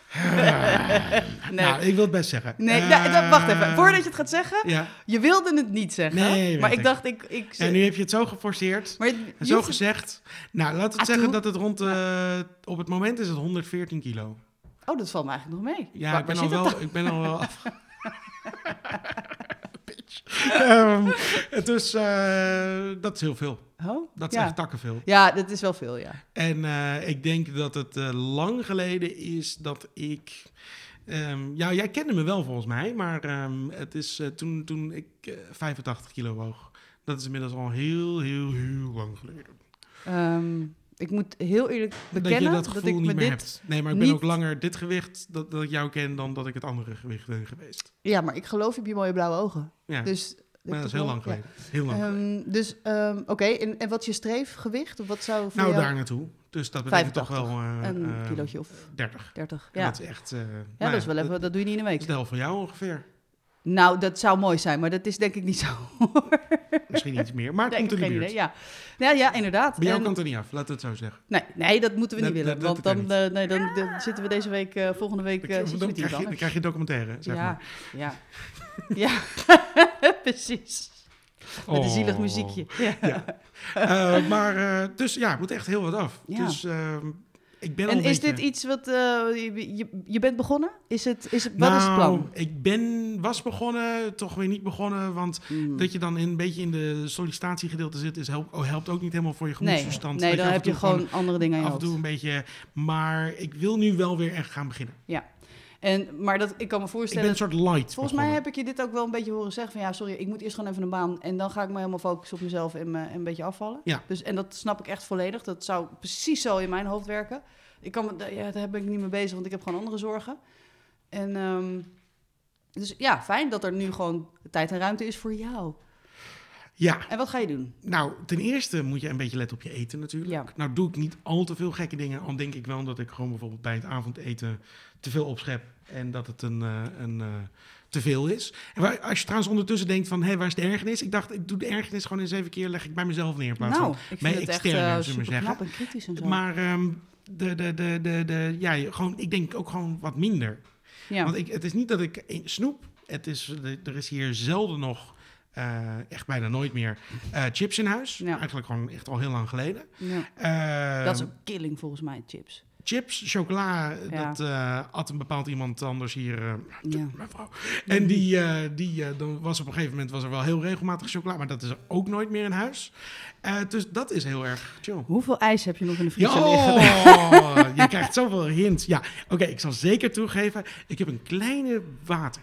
[SPEAKER 2] nee,
[SPEAKER 1] Nou, ik wil het best zeggen.
[SPEAKER 2] nee
[SPEAKER 1] Eh,
[SPEAKER 2] nou, dat- wacht even. Voordat je het gaat zeggen,
[SPEAKER 1] Ja.
[SPEAKER 2] je wilde het niet zeggen.
[SPEAKER 1] Nee, weet
[SPEAKER 2] maar
[SPEAKER 1] ik.
[SPEAKER 2] ik dacht, ik... ik
[SPEAKER 1] ja, nu heb je het zo geforceerd.
[SPEAKER 2] maar je
[SPEAKER 1] En zo
[SPEAKER 2] hoeft-
[SPEAKER 1] gezegd. Nou, laten we
[SPEAKER 2] Ah,
[SPEAKER 1] het zeggen
[SPEAKER 2] toe.
[SPEAKER 1] dat het rond... eh, op het moment is het 114 kilo.
[SPEAKER 2] Oh, dat valt me eigenlijk nog mee.
[SPEAKER 1] Ja,
[SPEAKER 2] Waar-
[SPEAKER 1] ik ben,
[SPEAKER 2] waar
[SPEAKER 1] al
[SPEAKER 2] zit het
[SPEAKER 1] wel, ik ben al wel af. Bitch. Ehm, dus eh, dat is heel veel.
[SPEAKER 2] dan? Oh,
[SPEAKER 1] Dat is
[SPEAKER 2] ja.
[SPEAKER 1] echt takken veel.
[SPEAKER 2] Ja, dat is wel veel, ja.
[SPEAKER 1] En eh, ik denk dat het eh, lang geleden is dat ik. ehm, ja, jij kende me wel volgens mij, maar ehm, het is eh, toen, toen ik eh, 85 kilo woog. Dat is inmiddels al heel, heel, heel lang geleden.
[SPEAKER 2] Ehm, ik moet heel eerlijk
[SPEAKER 1] dat je
[SPEAKER 2] bekennen
[SPEAKER 1] dat
[SPEAKER 2] dat,
[SPEAKER 1] gevoel
[SPEAKER 2] ik me
[SPEAKER 1] niet meer
[SPEAKER 2] dit...
[SPEAKER 1] hebt. Nee, maar ik ben
[SPEAKER 2] niet-
[SPEAKER 1] ook langer dit gewicht dat, dat ik jou ken dan dat ik het andere gewicht ben geweest.
[SPEAKER 2] Ja, maar ik geloof je op je mooie blauwe ogen.
[SPEAKER 1] Ja,
[SPEAKER 2] Dus...
[SPEAKER 1] maar dat is
[SPEAKER 2] wel-
[SPEAKER 1] heel lang
[SPEAKER 2] ja.
[SPEAKER 1] geleden. Heel lang.
[SPEAKER 2] Ehm, dus, ehm, oké, en, en wat is je streefgewicht? Of wat zou voor
[SPEAKER 1] nou,
[SPEAKER 2] jou...
[SPEAKER 1] daar naartoe. Dus dat betekent toch wel eh,
[SPEAKER 2] Een
[SPEAKER 1] eh,
[SPEAKER 2] kilootje of
[SPEAKER 1] 30.
[SPEAKER 2] 30.
[SPEAKER 1] En
[SPEAKER 2] Ja,
[SPEAKER 1] dat is echt. eh, nou
[SPEAKER 2] ja dat is wel even, dat, doe je niet in een
[SPEAKER 1] dat
[SPEAKER 2] week.
[SPEAKER 1] is de helft van jou ongeveer.
[SPEAKER 2] Nou, dat zou mooi zijn, maar dat is denk ik niet zo.
[SPEAKER 1] Misschien iets meer, maar het
[SPEAKER 2] Nee, ik
[SPEAKER 1] komt in
[SPEAKER 2] heb
[SPEAKER 1] de
[SPEAKER 2] geen
[SPEAKER 1] buurt.
[SPEAKER 2] idee. Ja, ja, ja inderdaad.
[SPEAKER 1] Bij jou
[SPEAKER 2] En-
[SPEAKER 1] kan het er niet af, laten we het zo zeggen.
[SPEAKER 2] nee, nee, dat moeten we
[SPEAKER 1] Dat-
[SPEAKER 2] niet willen.
[SPEAKER 1] dat- dat
[SPEAKER 2] want
[SPEAKER 1] kan
[SPEAKER 2] dan,
[SPEAKER 1] niet.
[SPEAKER 2] eh, nee, dan, dan zitten we deze week, eh, volgende week... eh,
[SPEAKER 1] Dan-
[SPEAKER 2] zitten we
[SPEAKER 1] dan,
[SPEAKER 2] met iemand
[SPEAKER 1] krijg je, dan krijg
[SPEAKER 2] anders.
[SPEAKER 1] je documentaire, zeg
[SPEAKER 2] ja,
[SPEAKER 1] maar.
[SPEAKER 2] ja, ja, precies. Met een zielig
[SPEAKER 1] Oh.
[SPEAKER 2] muziekje. Ja.
[SPEAKER 1] Eh, maar, eh, dus ja, het moet echt heel wat af.
[SPEAKER 2] Ja.
[SPEAKER 1] Dus ehm, ik ben al
[SPEAKER 2] En
[SPEAKER 1] een
[SPEAKER 2] is
[SPEAKER 1] beetje-
[SPEAKER 2] dit iets wat... eh, je, je, je bent begonnen? Is het, is het, wat
[SPEAKER 1] nou,
[SPEAKER 2] is het plan?
[SPEAKER 1] ik ben, was begonnen, toch weer niet begonnen. Want
[SPEAKER 2] Hmm.
[SPEAKER 1] dat je dan in, een beetje in de sollicitatiegedeelte zit, is help, oh, helpt ook niet helemaal voor je
[SPEAKER 2] Nee,
[SPEAKER 1] gemoedsverstand.
[SPEAKER 2] nee
[SPEAKER 1] Dat
[SPEAKER 2] dan
[SPEAKER 1] af en
[SPEAKER 2] heb je
[SPEAKER 1] toe gewoon
[SPEAKER 2] gewoon andere dingen aan je
[SPEAKER 1] af en toe
[SPEAKER 2] hoofd.
[SPEAKER 1] een beetje... Maar ik wil nu wel weer echt gaan beginnen.
[SPEAKER 2] En, maar dat, ik kan me
[SPEAKER 1] Ik ben
[SPEAKER 2] voorstellen...
[SPEAKER 1] een soort light
[SPEAKER 2] volgens mij heb ik je dit ook wel een beetje horen zeggen van... ja, sorry, ik moet eerst gewoon even een baan... en dan ga ik me helemaal focussen op mezelf en, me, en een beetje afvallen.
[SPEAKER 1] Ja.
[SPEAKER 2] Dus, en dat snap ik echt volledig. Dat zou precies zo in mijn hoofd werken. Ik kan, me- ja, daar ben ik niet mee bezig, want ik heb gewoon andere zorgen. En, ehm, dus ja, fijn dat er nu gewoon tijd en ruimte is voor jou.
[SPEAKER 1] Ja,
[SPEAKER 2] En wat ga je doen?
[SPEAKER 1] nou, ten eerste moet je een beetje letten op je eten natuurlijk.
[SPEAKER 2] Ja.
[SPEAKER 1] Nou doe ik niet al te veel gekke dingen. Al denk ik wel dat ik gewoon bijvoorbeeld bij het avondeten te veel opschep. En dat het een, eh, een eh, te veel is. En waar, als je trouwens ondertussen denkt van, hé, waar is de ergernis? Ik dacht, ik doe de ergernis gewoon eens even keer, leg ik bij mezelf neer. In plaats
[SPEAKER 2] Nou,
[SPEAKER 1] van
[SPEAKER 2] ik
[SPEAKER 1] bij
[SPEAKER 2] vind het echt
[SPEAKER 1] externe, zullen we maar
[SPEAKER 2] super knap en kritisch en zo.
[SPEAKER 1] Maar ehm, de, de, de, de, de, ja, je- gewoon, ik denk ook gewoon wat minder.
[SPEAKER 2] ja.
[SPEAKER 1] Want ik, het is niet dat ik eh, snoep. Het is, de- er is hier zelden nog, eh, echt bijna nooit meer, eh, chips in huis.
[SPEAKER 2] Ja.
[SPEAKER 1] Eigenlijk gewoon echt al heel lang geleden.
[SPEAKER 2] ja.
[SPEAKER 1] Eh,
[SPEAKER 2] Dat is een killing volgens mij, chips.
[SPEAKER 1] Chips, chocola,
[SPEAKER 2] Ja.
[SPEAKER 1] dat eh at een bepaald iemand anders hier, eh,
[SPEAKER 2] Ja.
[SPEAKER 1] mijn vrouw. En die, eh, die eh, dan was op een gegeven moment was er wel heel regelmatig chocola, maar dat is er ook nooit meer in huis. Eh, dus dat is heel erg chill.
[SPEAKER 2] Hoeveel ijs heb je nog in de
[SPEAKER 1] Ja,
[SPEAKER 2] vriezer liggen?
[SPEAKER 1] oh, je krijgt zoveel hints. Ja, oké, ik zal zeker toegeven. Ik heb een kleine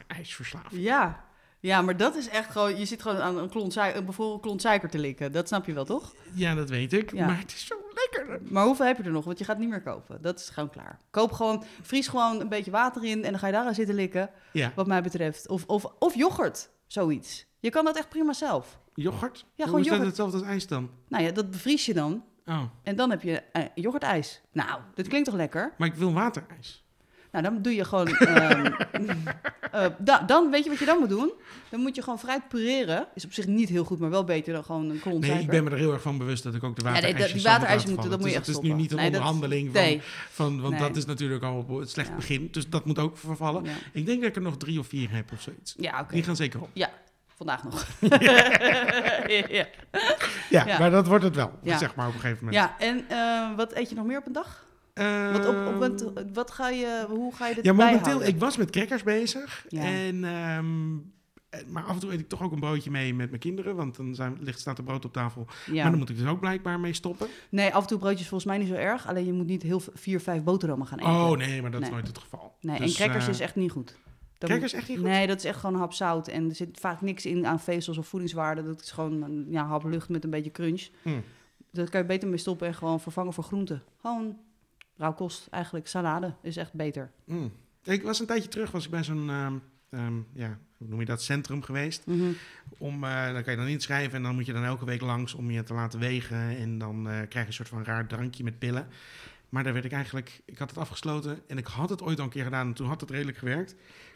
[SPEAKER 1] waterijsverslaving.
[SPEAKER 2] Ja. ja, maar dat is echt gewoon... Je zit gewoon aan een klont, suiker, bijvoorbeeld een klont suiker te likken. Dat snap je wel, toch?
[SPEAKER 1] Ja, dat weet ik.
[SPEAKER 2] Ja.
[SPEAKER 1] Maar het is zo lekker.
[SPEAKER 2] Maar hoeveel heb je er nog? Want je gaat het niet meer kopen. Dat is gewoon klaar. Koop gewoon... Vries gewoon een beetje water in en dan ga je daar aan zitten likken.
[SPEAKER 1] Ja,
[SPEAKER 2] Wat mij betreft. Of, of, of yoghurt, zoiets. Je kan dat echt prima zelf.
[SPEAKER 1] yoghurt. Hoe
[SPEAKER 2] Ja, gewoon
[SPEAKER 1] is dat
[SPEAKER 2] yoghurt.
[SPEAKER 1] hetzelfde als ijs dan?
[SPEAKER 2] Nou ja, dat bevries je dan.
[SPEAKER 1] Oh,
[SPEAKER 2] En dan heb je eh, yoghurtijs. Nou, dat klinkt toch lekker?
[SPEAKER 1] maar ik wil waterijs.
[SPEAKER 2] Nou, dan doe je gewoon... ehm, eh, da- dan weet je wat je dan moet doen? Dan moet je gewoon fruit pureren. Is op zich niet heel goed, maar wel beter dan gewoon een klont
[SPEAKER 1] Nee,
[SPEAKER 2] suiker.
[SPEAKER 1] ik ben me er heel erg van bewust dat ik ook de
[SPEAKER 2] nee, dat-
[SPEAKER 1] waterijsjes
[SPEAKER 2] die
[SPEAKER 1] zelf moet
[SPEAKER 2] waterijsjes
[SPEAKER 1] laten
[SPEAKER 2] moeten-
[SPEAKER 1] vallen.
[SPEAKER 2] dat
[SPEAKER 1] Dus
[SPEAKER 2] moet
[SPEAKER 1] Het is
[SPEAKER 2] je echt
[SPEAKER 1] nu niet een
[SPEAKER 2] stoppen. Nee, dat-
[SPEAKER 1] onderhandeling van,
[SPEAKER 2] Nee.
[SPEAKER 1] van want
[SPEAKER 2] Nee.
[SPEAKER 1] dat is natuurlijk al op het slecht
[SPEAKER 2] Ja.
[SPEAKER 1] begin. Dus dat moet ook vervallen.
[SPEAKER 2] Ja,
[SPEAKER 1] Ik denk dat ik er nog drie of vier heb of zoiets.
[SPEAKER 2] Ja, oké.
[SPEAKER 1] Die gaan zeker op.
[SPEAKER 2] Vandaag nog. ja.
[SPEAKER 1] Ja,
[SPEAKER 2] Ja.
[SPEAKER 1] maar dat wordt het wel,
[SPEAKER 2] Ja.
[SPEAKER 1] zeg maar, op een gegeven moment. Eh,
[SPEAKER 2] ja, en eh, wat eet je nog meer op een dag? Wat, op, op een- wat ga je, hoe ga je dit
[SPEAKER 1] Ja, momenteel, eh,
[SPEAKER 2] bijhouden?
[SPEAKER 1] ik was met crackers bezig.
[SPEAKER 2] Ja.
[SPEAKER 1] En, ehm, eh, maar af en toe eet ik toch ook een broodje mee met mijn kinderen. Want dan zijn, ligt, staat er brood op tafel.
[SPEAKER 2] ja.
[SPEAKER 1] Maar dan moet ik dus ook blijkbaar mee stoppen.
[SPEAKER 2] Nee, af en toe broodjes volgens mij niet zo erg. Alleen je moet niet heel v- vier, vijf boterhammen gaan eten.
[SPEAKER 1] Oh nee, maar dat
[SPEAKER 2] Nee.
[SPEAKER 1] is nooit het geval.
[SPEAKER 2] Nee,
[SPEAKER 1] Dus,
[SPEAKER 2] en crackers
[SPEAKER 1] eh,
[SPEAKER 2] is echt niet goed. Dat
[SPEAKER 1] crackers is echt niet
[SPEAKER 2] moet-
[SPEAKER 1] goed?
[SPEAKER 2] Nee, dat is echt gewoon een hap zout. En er zit vaak niks in aan vezels of voedingswaarde. Dat is gewoon een ja, hap lucht met een beetje crunch.
[SPEAKER 1] Hm.
[SPEAKER 2] Dat kan je beter mee stoppen en gewoon vervangen voor groenten. Gewoon rauwkost eigenlijk. Salade is echt beter.
[SPEAKER 1] Mm. Ik was een tijdje terug was ik bij zo'n, ehm, ehm, ja, hoe noem je dat, centrum geweest.
[SPEAKER 2] Mhm.
[SPEAKER 1] Om, eh, dan kan je dan inschrijven en dan moet je dan elke week langs om je te laten wegen. En dan eh, krijg je een soort van raar drankje met pillen. Maar daar werd ik eigenlijk, ik had het afgesloten en ik had het ooit al een keer gedaan en toen had het redelijk gewerkt.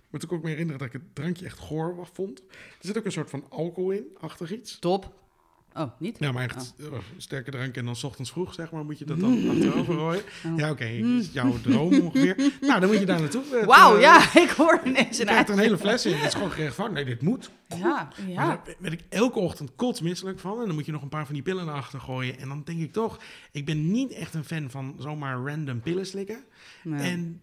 [SPEAKER 1] Maar toen kon ik me herinneren dat ik het drankje echt goor wa- vond. Er zit ook een soort van alcohol in, achtig iets.
[SPEAKER 2] Top. Oh, niet?
[SPEAKER 1] Ja, maar echt eh, sterke drank en dan 's ochtends vroeg, zeg maar, moet je dat dan achterover gooien.
[SPEAKER 2] Oh.
[SPEAKER 1] Ja, oké, is jouw droom ongeveer. Nou, dan moet je daar naartoe. eh,
[SPEAKER 2] Wauw,
[SPEAKER 1] te-
[SPEAKER 2] ja, ik hoor ineens
[SPEAKER 1] Je
[SPEAKER 2] een
[SPEAKER 1] krijgt er een
[SPEAKER 2] ei.
[SPEAKER 1] hele fles in. Dat is gewoon gerecht van, nee, dit moet.
[SPEAKER 2] Ja,
[SPEAKER 1] Maar
[SPEAKER 2] ja.
[SPEAKER 1] daar werd ik elke ochtend kotsmisselijk van. En dan moet je nog een paar van die pillen naar achter gooien. En dan denk ik toch, ik ben niet echt een fan van zomaar random pillen slikken.
[SPEAKER 2] Nee,
[SPEAKER 1] En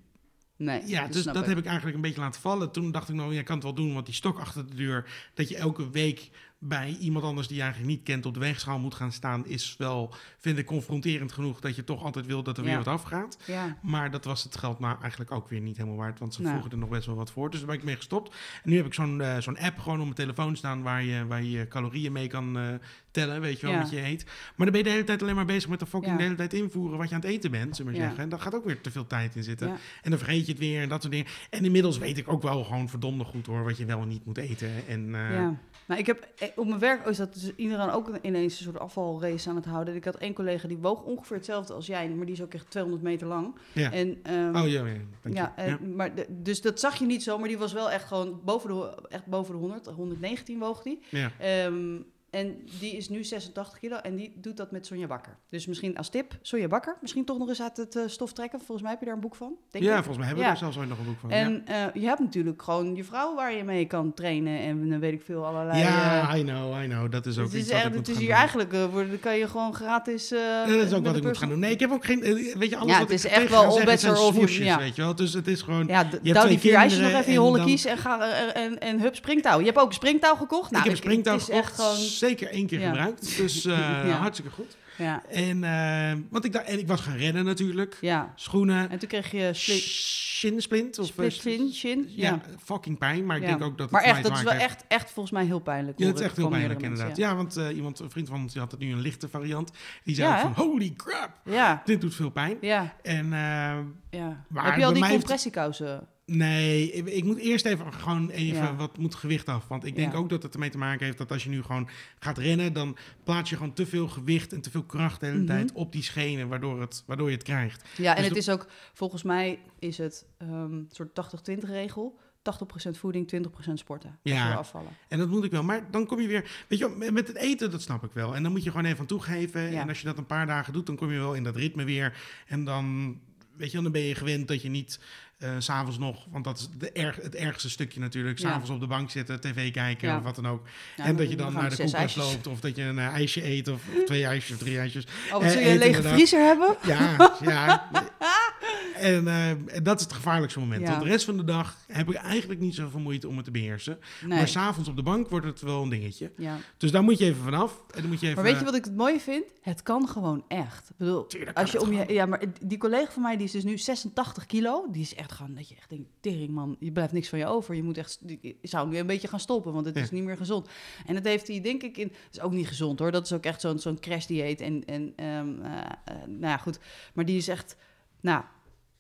[SPEAKER 2] nee,
[SPEAKER 1] ja, dus
[SPEAKER 2] snap
[SPEAKER 1] dat
[SPEAKER 2] ik.
[SPEAKER 1] heb ik eigenlijk een beetje laten vallen. Toen dacht ik, nou, je kan het wel doen, want die stok achter de deur, dat je elke week bij iemand anders die je eigenlijk niet kent op de weegschaal moet gaan staan, is wel, vind ik, confronterend genoeg dat je toch altijd wil dat er weer
[SPEAKER 2] Ja.
[SPEAKER 1] wat afgaat.
[SPEAKER 2] Ja.
[SPEAKER 1] Maar dat was het geld nou eigenlijk ook weer niet helemaal waard. Want ze
[SPEAKER 2] Nou.
[SPEAKER 1] vroegen er nog best wel wat voor. Dus daar ben ik mee gestopt. En nu heb ik zo'n eh, zo'n app gewoon op mijn telefoon staan... waar je, waar je calorieën mee kan eh, tellen, weet je wel,
[SPEAKER 2] Ja.
[SPEAKER 1] wat je eet. Maar dan ben je de hele tijd alleen maar bezig met de fucking
[SPEAKER 2] Ja.
[SPEAKER 1] de hele tijd invoeren... wat je aan het eten bent, zullen we
[SPEAKER 2] Ja.
[SPEAKER 1] zeggen. En daar gaat ook weer te veel tijd in zitten.
[SPEAKER 2] Ja.
[SPEAKER 1] En dan vergeet je het weer en dat soort dingen. En inmiddels weet ik ook wel gewoon verdomde goed hoor... wat je wel en niet moet eten. En eh,
[SPEAKER 2] Ja, maar ik heb eh, op mijn werk is dat dus iedereen ook ineens een soort afvalrace aan het houden. En Ik had één collega die woog ongeveer hetzelfde als jij, maar die is ook echt 200 meter lang.
[SPEAKER 1] Ja.
[SPEAKER 2] En, ehm,
[SPEAKER 1] Oh ja, ja, dank je.
[SPEAKER 2] ja, eh,
[SPEAKER 1] Ja.
[SPEAKER 2] Maar de- dus dat zag je niet zo, maar die was wel echt gewoon boven de, ho- echt boven de 100, 119 woog die.
[SPEAKER 1] Ja.
[SPEAKER 2] Ehm, en die is nu 86 kilo en die doet dat met Sonja Bakker. Dus misschien als tip, Sonja Bakker, misschien toch nog eens uit het eh, stof trekken. Volgens mij heb je daar een boek van. Denk
[SPEAKER 1] Ja,
[SPEAKER 2] ik.
[SPEAKER 1] volgens mij hebben we
[SPEAKER 2] Ja.
[SPEAKER 1] er zelfs ooit nog een boek van. ja.
[SPEAKER 2] En eh, je hebt natuurlijk gewoon je vrouw waar je mee kan trainen en dan weet ik veel allerlei. eh,
[SPEAKER 1] ja, I know, I know. Dat is ook
[SPEAKER 2] het
[SPEAKER 1] iets
[SPEAKER 2] is,
[SPEAKER 1] wat ik
[SPEAKER 2] echt,
[SPEAKER 1] moet
[SPEAKER 2] het is
[SPEAKER 1] gaan
[SPEAKER 2] hier
[SPEAKER 1] doen.
[SPEAKER 2] eigenlijk, eh, worden, dan kan je gewoon gratis... eh
[SPEAKER 1] Ja, dat is ook
[SPEAKER 2] met
[SPEAKER 1] wat
[SPEAKER 2] de
[SPEAKER 1] ik moet gaan
[SPEAKER 2] personal-
[SPEAKER 1] doen. Nee, ik heb ook geen. eh, Weet je, alles
[SPEAKER 2] Ja,
[SPEAKER 1] wat
[SPEAKER 2] het is
[SPEAKER 1] ik
[SPEAKER 2] echt
[SPEAKER 1] tegen
[SPEAKER 2] wel
[SPEAKER 1] ga zeggen
[SPEAKER 2] all bets
[SPEAKER 1] zijn
[SPEAKER 2] are off,
[SPEAKER 1] smoesjes,
[SPEAKER 2] ja.
[SPEAKER 1] weet je wel. Dus het is gewoon.
[SPEAKER 2] Ja, d-
[SPEAKER 1] hebt
[SPEAKER 2] douw
[SPEAKER 1] twee
[SPEAKER 2] die vier ijsjes nog
[SPEAKER 1] kinderen
[SPEAKER 2] even in je
[SPEAKER 1] en
[SPEAKER 2] holle
[SPEAKER 1] dan-
[SPEAKER 2] kies en, ga, er- en, en hup, springtouw. Je hebt ook een springtouw gekocht? Nou,
[SPEAKER 1] ik heb een springtouw
[SPEAKER 2] het is echt
[SPEAKER 1] gekocht,
[SPEAKER 2] gewoon...
[SPEAKER 1] zeker één keer
[SPEAKER 2] Ja.
[SPEAKER 1] gebruikt. Dus eh,
[SPEAKER 2] Ja.
[SPEAKER 1] hartstikke goed.
[SPEAKER 2] Ja,
[SPEAKER 1] En, eh, want ik dacht, en ik was gaan rennen natuurlijk.
[SPEAKER 2] ja.
[SPEAKER 1] Schoenen.
[SPEAKER 2] Eh, En toen kreeg je... sli-
[SPEAKER 1] Sh- shin-splint. Of, eh,
[SPEAKER 2] Split chin, chin.
[SPEAKER 1] Ja,
[SPEAKER 2] Ja.
[SPEAKER 1] fucking pijn, maar ik
[SPEAKER 2] Ja.
[SPEAKER 1] denk ook dat het
[SPEAKER 2] maar
[SPEAKER 1] mij
[SPEAKER 2] echt,
[SPEAKER 1] te
[SPEAKER 2] dat is wel
[SPEAKER 1] maken heeft.
[SPEAKER 2] echt, echt volgens mij heel pijnlijk.
[SPEAKER 1] Ja,
[SPEAKER 2] hoor
[SPEAKER 1] het is
[SPEAKER 2] ik
[SPEAKER 1] echt heel
[SPEAKER 2] van meerdere
[SPEAKER 1] pijnlijk inderdaad.
[SPEAKER 2] mensen,
[SPEAKER 1] Ja, want eh, iemand, een vriend van ons die had het nu een lichte variant. Die zei
[SPEAKER 2] Ja,
[SPEAKER 1] ook
[SPEAKER 2] hè?
[SPEAKER 1] van, holy crap,
[SPEAKER 2] Ja,
[SPEAKER 1] dit doet veel pijn.
[SPEAKER 2] ja,
[SPEAKER 1] En eh,
[SPEAKER 2] ja.
[SPEAKER 1] Maar
[SPEAKER 2] Heb je
[SPEAKER 1] bij
[SPEAKER 2] al die
[SPEAKER 1] mij heeft-
[SPEAKER 2] compressiekousen?
[SPEAKER 1] nee, ik, ik moet eerst even gewoon even
[SPEAKER 2] Ja.
[SPEAKER 1] wat moet gewicht af. Want ik denk
[SPEAKER 2] Ja.
[SPEAKER 1] ook dat het ermee te maken heeft dat als je nu gewoon gaat rennen, dan plaats je gewoon te veel gewicht en te veel kracht de hele
[SPEAKER 2] Mhm.
[SPEAKER 1] tijd op die schenen, waardoor, het, waardoor je het krijgt.
[SPEAKER 2] Ja, en
[SPEAKER 1] Dus
[SPEAKER 2] het
[SPEAKER 1] de-
[SPEAKER 2] is ook, volgens mij is het ehm, een soort 80-20 regel. 80% voeding, 20% sporten. Als
[SPEAKER 1] Ja.
[SPEAKER 2] je wil afvallen.
[SPEAKER 1] En dat moet ik wel. Maar dan kom je weer. Weet je, wel, met- met het eten, dat snap ik wel. En dan moet je gewoon even aan toegeven.
[SPEAKER 2] Ja.
[SPEAKER 1] En als je dat een paar dagen doet, dan kom je wel in dat ritme weer. En dan, weet je, wel, dan ben je gewend dat je niet eh, s s'avonds nog. Want dat is de erg, het ergste stukje natuurlijk.
[SPEAKER 2] Ja.
[SPEAKER 1] S'avonds op de bank zitten, tv kijken
[SPEAKER 2] Ja.
[SPEAKER 1] of wat dan ook.
[SPEAKER 2] Ja,
[SPEAKER 1] en dat je dan
[SPEAKER 2] Nou, gaan
[SPEAKER 1] naar
[SPEAKER 2] we
[SPEAKER 1] de
[SPEAKER 2] zes
[SPEAKER 1] koelkast
[SPEAKER 2] ijsjes.
[SPEAKER 1] loopt. Of dat je een eh, ijsje eet. Of twee ijsjes of drie ijsjes.
[SPEAKER 2] Oh, wat
[SPEAKER 1] Eh,
[SPEAKER 2] zul je een
[SPEAKER 1] eten
[SPEAKER 2] lege
[SPEAKER 1] inderdaad.
[SPEAKER 2] vriezer hebben?
[SPEAKER 1] Ja, ja. En eh, dat is het gevaarlijkste moment.
[SPEAKER 2] Ja.
[SPEAKER 1] Want de rest van de dag heb ik eigenlijk niet zoveel moeite om het te beheersen.
[SPEAKER 2] Nee.
[SPEAKER 1] Maar s'avonds op de bank wordt het wel een dingetje.
[SPEAKER 2] ja.
[SPEAKER 1] Dus daar moet je even vanaf. En dan moet je even,
[SPEAKER 2] Maar weet je wat ik het mooie vind? Het kan gewoon echt. Ik bedoel,
[SPEAKER 1] Tuurlijk
[SPEAKER 2] als
[SPEAKER 1] kan het
[SPEAKER 2] je om je,
[SPEAKER 1] gewoon.
[SPEAKER 2] ja, maar die collega van mij die is dus nu 86 kilo. Die is echt gewoon dat je echt denkt, tering man, je blijft niks van je over. Je moet echt, je zou nu een beetje gaan stoppen, want het
[SPEAKER 1] Ja.
[SPEAKER 2] is niet meer gezond. En dat heeft hij denk ik in, dat is ook niet gezond hoor. Dat is ook echt zo'n zo'n crash dieet en en ehm, eh, eh, nou ja goed. Maar die is echt, nou.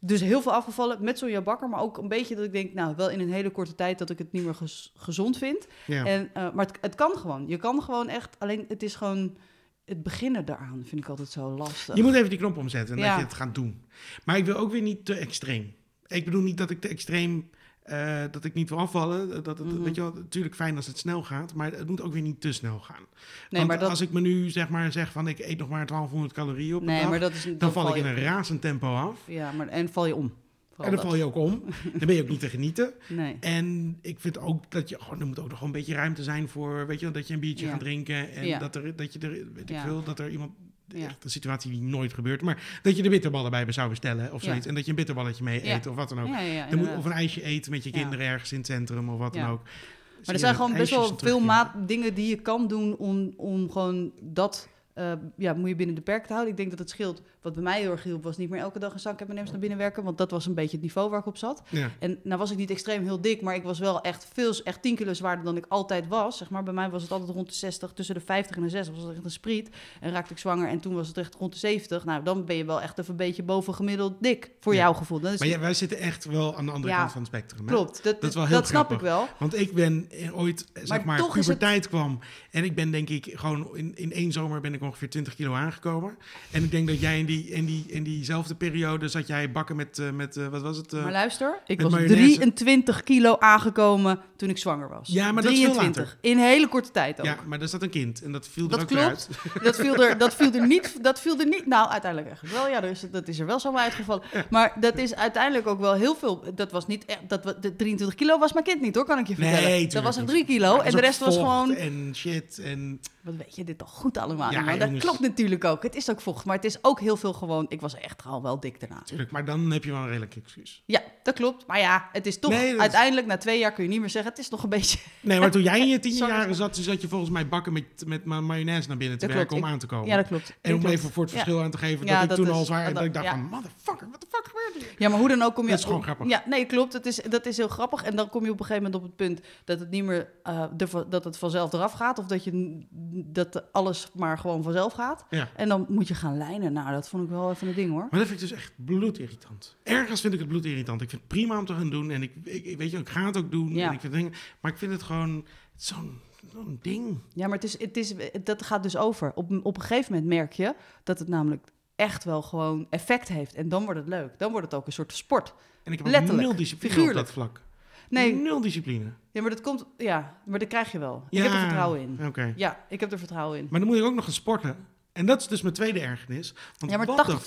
[SPEAKER 2] Dus heel veel afgevallen met zo'n bakker, maar ook een beetje dat ik denk, nou, wel in een hele korte tijd dat ik het niet meer gez- gezond vind.
[SPEAKER 1] ja.
[SPEAKER 2] En, eh, maar het, het kan gewoon. Je kan gewoon echt. Alleen het is gewoon. Het beginnen daaraan vind ik altijd zo lastig.
[SPEAKER 1] je moet even die knop omzetten en
[SPEAKER 2] Ja.
[SPEAKER 1] dat je het gaat doen. Maar ik wil ook weer niet te extreem. Ik bedoel niet dat ik te extreem, eh, dat ik niet wil afvallen. Dat het,
[SPEAKER 2] Mhm.
[SPEAKER 1] Weet je wel, natuurlijk fijn als het snel gaat, maar het moet ook weer niet te snel gaan.
[SPEAKER 2] nee,
[SPEAKER 1] Want
[SPEAKER 2] maar dat,
[SPEAKER 1] als ik me nu zeg maar zeg van ik eet nog maar 1200 calorieën op een
[SPEAKER 2] nee,
[SPEAKER 1] dag,
[SPEAKER 2] maar dat is.
[SPEAKER 1] dan val ik in een razend tempo af.
[SPEAKER 2] Ja, maar, en val je om. Vooral
[SPEAKER 1] En dan val je ook om. Dan ben je ook niet te genieten.
[SPEAKER 2] dat. Nee.
[SPEAKER 1] En ik vind ook dat je, gewoon er moet ook nog een beetje ruimte zijn voor, weet je, wel, dat je een biertje
[SPEAKER 2] Ja.
[SPEAKER 1] gaat drinken en
[SPEAKER 2] Ja.
[SPEAKER 1] dat er, dat je er, weet ik
[SPEAKER 2] Ja.
[SPEAKER 1] veel, dat er iemand,
[SPEAKER 2] Ja.
[SPEAKER 1] echt een situatie die nooit gebeurt, maar dat je de bitterballen bij me zou bestellen of
[SPEAKER 2] Ja.
[SPEAKER 1] zoiets en dat je een bitterballetje mee
[SPEAKER 2] Ja.
[SPEAKER 1] eet of wat dan ook.
[SPEAKER 2] Ja, ja,
[SPEAKER 1] Dan moet-
[SPEAKER 2] inderdaad.
[SPEAKER 1] of een ijsje eten met je
[SPEAKER 2] Ja.
[SPEAKER 1] kinderen ergens in het centrum of wat
[SPEAKER 2] Ja.
[SPEAKER 1] dan ook. Dus
[SPEAKER 2] maar er zijn gewoon best wel veel
[SPEAKER 1] maat.
[SPEAKER 2] maat dingen die je kan doen om, om gewoon dat. eh, ja, moet je binnen de perk te houden. Ik denk dat het scheelt. Wat bij mij heel erg hielp, was niet meer elke dag een zak M&M's naar binnen werken. Want dat was een beetje het niveau waar ik op zat.
[SPEAKER 1] Ja.
[SPEAKER 2] En nou was ik niet extreem heel dik, maar ik was wel echt veel, echt 10 kilo zwaarder dan ik altijd was. Zeg maar, bij mij was het altijd rond de 60, tussen de 50 en de 60 was het echt een spriet. En raakte ik zwanger en toen was het echt rond de 70. Nou, dan ben je wel echt even een beetje boven gemiddeld dik, voor
[SPEAKER 1] Ja.
[SPEAKER 2] jouw gevoel. Dat is,
[SPEAKER 1] Maar ja, wij zitten echt wel aan de andere
[SPEAKER 2] Dus- Ja.
[SPEAKER 1] kant van het spectrum. hè?
[SPEAKER 2] klopt, dat,
[SPEAKER 1] Dat
[SPEAKER 2] dat,
[SPEAKER 1] is wel heel
[SPEAKER 2] snap ik
[SPEAKER 1] grappig.
[SPEAKER 2] wel.
[SPEAKER 1] Want ik ben eh, ooit, eh, zeg
[SPEAKER 2] Maar
[SPEAKER 1] maar,
[SPEAKER 2] toch is het-
[SPEAKER 1] puberteit kwam. En ik ben denk ik gewoon, in, in één zomer ben ik ongeveer 20 kilo aangekomen. En ik denk dat jij in, die, in, die, in diezelfde periode zat jij bakken met, eh, met eh, wat was het? eh,
[SPEAKER 2] Maar luister, ik
[SPEAKER 1] met
[SPEAKER 2] was
[SPEAKER 1] mayonaise.
[SPEAKER 2] 23 kilo aangekomen toen ik zwanger was.
[SPEAKER 1] Ja, maar dat is veel
[SPEAKER 2] 23, in een hele korte tijd ook.
[SPEAKER 1] ja, maar daar zat een kind en dat viel er
[SPEAKER 2] Dat
[SPEAKER 1] ook weer
[SPEAKER 2] klopt.
[SPEAKER 1] uit.
[SPEAKER 2] Dat viel, er, dat viel er niet. Dat viel er niet. Nou, uiteindelijk eigenlijk wel. Ja, er is, dat is er wel zomaar uitgevallen. Maar dat is uiteindelijk ook wel heel veel. Dat was niet echt. Dat, wa- de 23 kilo was mijn kind niet hoor, kan ik je
[SPEAKER 1] Nee,
[SPEAKER 2] vertellen. dat
[SPEAKER 1] tuurlijk
[SPEAKER 2] was een
[SPEAKER 1] niet.
[SPEAKER 2] 3 kilo.
[SPEAKER 1] Maar
[SPEAKER 2] en
[SPEAKER 1] er
[SPEAKER 2] de
[SPEAKER 1] ook
[SPEAKER 2] rest was
[SPEAKER 1] vocht
[SPEAKER 2] gewoon.
[SPEAKER 1] En shit en...
[SPEAKER 2] Wat weet je dit toch goed allemaal?
[SPEAKER 1] Ja,
[SPEAKER 2] man. dat
[SPEAKER 1] jongens.
[SPEAKER 2] klopt natuurlijk ook. Het is ook vocht. Maar het is ook heel veel gewoon. Ik was echt al wel dik daarna.
[SPEAKER 1] Tuurlijk, maar dan heb je wel een redelijk excuus.
[SPEAKER 2] Ja, dat klopt. Maar ja, het is toch.
[SPEAKER 1] Nee, dat is-
[SPEAKER 2] Uiteindelijk, na twee jaar kun je niet meer zeggen. Het is nog een beetje.
[SPEAKER 1] Nee, maar toen jij in je tien
[SPEAKER 2] Sorry.
[SPEAKER 1] jaren zat, toen zat je volgens mij bakken met, met ma- mayonaise naar binnen te
[SPEAKER 2] Dat
[SPEAKER 1] werken
[SPEAKER 2] klopt,
[SPEAKER 1] om
[SPEAKER 2] ik-
[SPEAKER 1] aan te komen.
[SPEAKER 2] Ja, dat klopt. Dat
[SPEAKER 1] Oh. en om
[SPEAKER 2] klopt.
[SPEAKER 1] even voor het
[SPEAKER 2] Ja.
[SPEAKER 1] verschil aan te geven
[SPEAKER 2] Ja,
[SPEAKER 1] dat ik
[SPEAKER 2] dat
[SPEAKER 1] toen
[SPEAKER 2] is-
[SPEAKER 1] al zwaar...
[SPEAKER 2] dat-
[SPEAKER 1] dat ik dacht
[SPEAKER 2] ja.
[SPEAKER 1] van, motherfucker, what the fuck gebeurt hier?
[SPEAKER 2] Ja, maar hoe dan ook kom je...
[SPEAKER 1] Dat is gewoon grappig.
[SPEAKER 2] Ja, nee, klopt. Het is, dat is heel grappig. En dan kom je op een gegeven moment op het punt dat het niet meer... eh, de- dat het vanzelf eraf gaat. Of dat, je, n- dat alles maar gewoon vanzelf gaat.
[SPEAKER 1] Ja.
[SPEAKER 2] En dan moet je gaan lijnen. Nou, dat vond ik wel even een ding, hoor.
[SPEAKER 1] Maar dat vind ik dus echt bloedirritant. Ergens vind ik het bloedirritant. Ik vind het prima om te gaan doen. En ik, ik, ik weet je, ik ga het ook doen.
[SPEAKER 2] Ja.
[SPEAKER 1] En ik vind dingen, maar ik vind het gewoon zo'n zo'n ding.
[SPEAKER 2] Ja, maar het is, het is, dat gaat dus over. Op, op een gegeven moment merk je dat het namelijk echt wel gewoon effect heeft. En dan wordt het leuk. Dan wordt het ook een soort sport.
[SPEAKER 1] En ik heb ook
[SPEAKER 2] Letterlijk,
[SPEAKER 1] nul discipline op
[SPEAKER 2] figuurlijk.
[SPEAKER 1] dat vlak.
[SPEAKER 2] Nee,
[SPEAKER 1] Nul discipline.
[SPEAKER 2] ja, maar dat komt... Ja, maar dat krijg je wel.
[SPEAKER 1] Ja.
[SPEAKER 2] Ik heb er vertrouwen in.
[SPEAKER 1] Oké.
[SPEAKER 2] Ja, ik heb er vertrouwen in.
[SPEAKER 1] Maar dan moet ik ook nog gaan sporten. En dat is dus mijn tweede ergernis. Want
[SPEAKER 2] Ja, maar
[SPEAKER 1] wat
[SPEAKER 2] 80-20. 80-20.